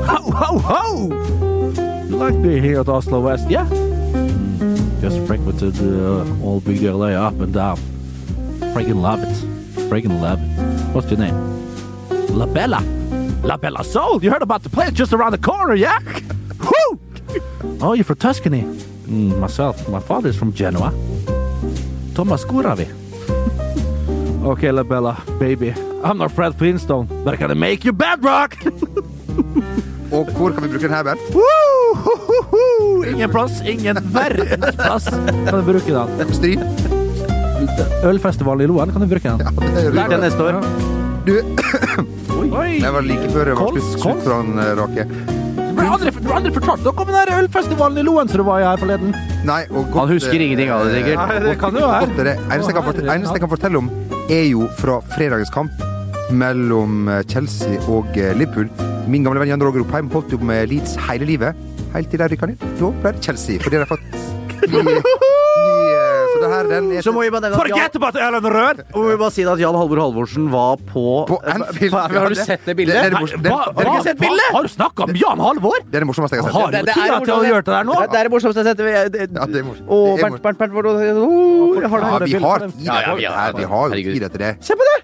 [SPEAKER 2] Ho, ho, ho! You like being here at Oslo West, yeah? Mm, Just frequented uh, all big LA up and down. Friggin' love it. Friggin' love it. What's your name? La Bella. La Bella Soul. You heard about the place just around the corner, yeah? (laughs) Woo! Oh, you're from Tuscany? Mm, myself. My father's from Genoa. Thomas Guravi. (laughs) okay, La Bella, baby. I'm not Fred Flintstone, but I gotta make you bedrock! (laughs)
[SPEAKER 1] Og hvor kan vi bruke den her, Bernt?
[SPEAKER 2] Woo! Ho, ho, ho! Ingen plass, ingen verdens plass kan du bruke den.
[SPEAKER 1] På Stryn?
[SPEAKER 2] Ølfestivalen i Loen kan du bruke den.
[SPEAKER 3] Der til neste år.
[SPEAKER 1] Du,
[SPEAKER 2] Oi!
[SPEAKER 1] jeg var like før det var
[SPEAKER 2] Kols,
[SPEAKER 1] slutt,
[SPEAKER 2] kols.
[SPEAKER 1] slutt for han eh, Rake.
[SPEAKER 2] Du ble aldri, du ble aldri fortalt noe om den der ølfestivalen i Loen som du var i her forleden.
[SPEAKER 1] Nei, og godt, eh,
[SPEAKER 3] Han husker ingenting av det, sikkert.
[SPEAKER 2] Nei, det kan jo være.
[SPEAKER 1] Godt er det. Eneste jeg, kan fortelle, eneste jeg kan fortelle om, er jo fra fredagens kamp mellom eh, Chelsea og eh, Liverpool. Min gamle venn Jan Roger Opheim holdt jo med Leeds hele livet, helt til de rykka ned. Da ble det Chelsea, fordi de har fått ny, ny eh, Så det her, den er
[SPEAKER 3] Så må vi bare nevne at
[SPEAKER 2] Forget
[SPEAKER 3] Jan-
[SPEAKER 2] about Ellen Rød!
[SPEAKER 3] må vi bare si at Jan Halvor Halvorsen var på
[SPEAKER 1] på Anfield.
[SPEAKER 3] På- Har du sett det bildet?
[SPEAKER 1] Det,
[SPEAKER 2] Nei,
[SPEAKER 1] det, er det, mors-
[SPEAKER 2] hva-
[SPEAKER 1] det, det,
[SPEAKER 2] hva-
[SPEAKER 3] ikke sett bildet?
[SPEAKER 2] hva- Har du snakka om Jan Halvor?
[SPEAKER 1] det er det morsomste jeg har
[SPEAKER 2] Har
[SPEAKER 1] sett.
[SPEAKER 2] du tida til å gjøre det der nå?
[SPEAKER 3] Det, det er det morsomste jeg har sett.
[SPEAKER 1] Ja, det er morsomt. Det
[SPEAKER 3] Å,
[SPEAKER 1] er
[SPEAKER 3] Bernt, Bernt, Bernt, Bernt, Bernt oh, jeg har det.
[SPEAKER 1] Ja, vi har tid
[SPEAKER 3] Ja, ja,
[SPEAKER 1] etter
[SPEAKER 3] vi
[SPEAKER 1] det.
[SPEAKER 3] har-
[SPEAKER 1] her, Vi har jo
[SPEAKER 3] Herregud.
[SPEAKER 1] tid etter det.
[SPEAKER 3] Se på det!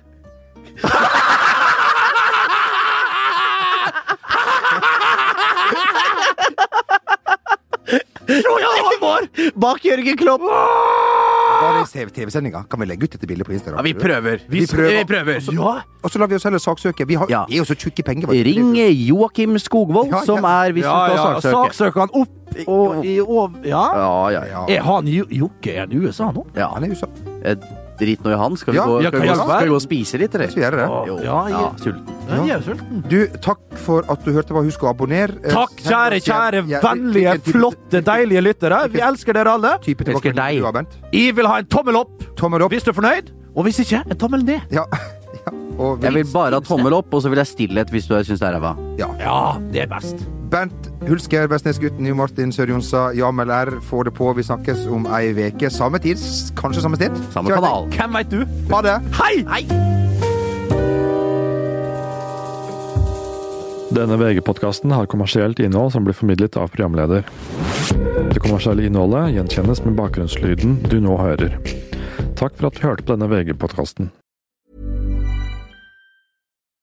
[SPEAKER 2] Tror Jan Halvor!
[SPEAKER 3] Bak Jørgen Klopp!
[SPEAKER 1] Bare i TV-sendinga kan vi legge ut dette bildet på Instagram.
[SPEAKER 3] Ja, vi prøver.
[SPEAKER 1] Vi prøver.
[SPEAKER 2] Ja,
[SPEAKER 1] Og så lar vi oss heller saksøke. Vi har,
[SPEAKER 3] Ja.
[SPEAKER 1] er jo så tjukke penger. vet du.
[SPEAKER 3] Ring Joakim Skogvold,
[SPEAKER 1] Ja, ja.
[SPEAKER 3] som er hvis
[SPEAKER 2] ja,
[SPEAKER 3] du
[SPEAKER 2] ja.
[SPEAKER 3] skal saksøke.
[SPEAKER 2] Saksøker han opp og i og Ja.
[SPEAKER 3] Ja, ja, ja.
[SPEAKER 2] Er han jo- Jokke er han i USA nå?
[SPEAKER 3] ja.
[SPEAKER 1] Han er jo så
[SPEAKER 3] Eh, Drit nå i han. Skal vi,
[SPEAKER 1] Ja,
[SPEAKER 3] gå,
[SPEAKER 2] ja,
[SPEAKER 3] skal,
[SPEAKER 2] kan
[SPEAKER 3] vi gå,
[SPEAKER 2] jeg
[SPEAKER 3] skal vi gå og spise litt,
[SPEAKER 1] så
[SPEAKER 3] eller?
[SPEAKER 1] gjør jeg det.
[SPEAKER 3] Jo.
[SPEAKER 2] Ja,
[SPEAKER 3] Ja,
[SPEAKER 2] jeg-
[SPEAKER 3] sulten.
[SPEAKER 2] Ja, jeg er sulten.
[SPEAKER 1] Du, takk for at du hørte på. Husk å abonnere. Eh,
[SPEAKER 2] Takk,
[SPEAKER 1] send
[SPEAKER 2] kjære,
[SPEAKER 1] oss
[SPEAKER 2] kjære,
[SPEAKER 1] igjen- ja,
[SPEAKER 2] vennlige,
[SPEAKER 1] hvilken type-
[SPEAKER 2] flotte, deilige lyttere. Vi elsker dere alle.
[SPEAKER 1] Type tilbake
[SPEAKER 3] Elsker deg.
[SPEAKER 1] du har, Bent.
[SPEAKER 2] Jeg vil ha en tommel opp
[SPEAKER 1] Tommel opp.
[SPEAKER 2] hvis du er fornøyd, og hvis ikke, en tommel ned.
[SPEAKER 1] Ja. ja. Og
[SPEAKER 3] Jeg
[SPEAKER 1] vi,
[SPEAKER 3] vil bare ha tommel opp, og så vil jeg stillhet hvis du syns det er ræva.
[SPEAKER 1] ja.
[SPEAKER 2] Ja, det er best.
[SPEAKER 1] Bent Hulsker, Vestnesgutten, Jo Martin Sør-Jonsa, Jamel R. Få det på. Vi snakkes om ei uke. Samme tid, s- kanskje samme sted.
[SPEAKER 3] Samme
[SPEAKER 1] Kjør.
[SPEAKER 3] kanal.
[SPEAKER 2] Hvem veit du?
[SPEAKER 1] Ha det.
[SPEAKER 2] Hei! Hei!
[SPEAKER 6] Denne VG-podkasten har kommersielt innhold som blir formidlet av programleder. Det kommersielle innholdet gjenkjennes med bakgrunnslyden du nå hører. Takk for at du hørte på denne VG-podkasten.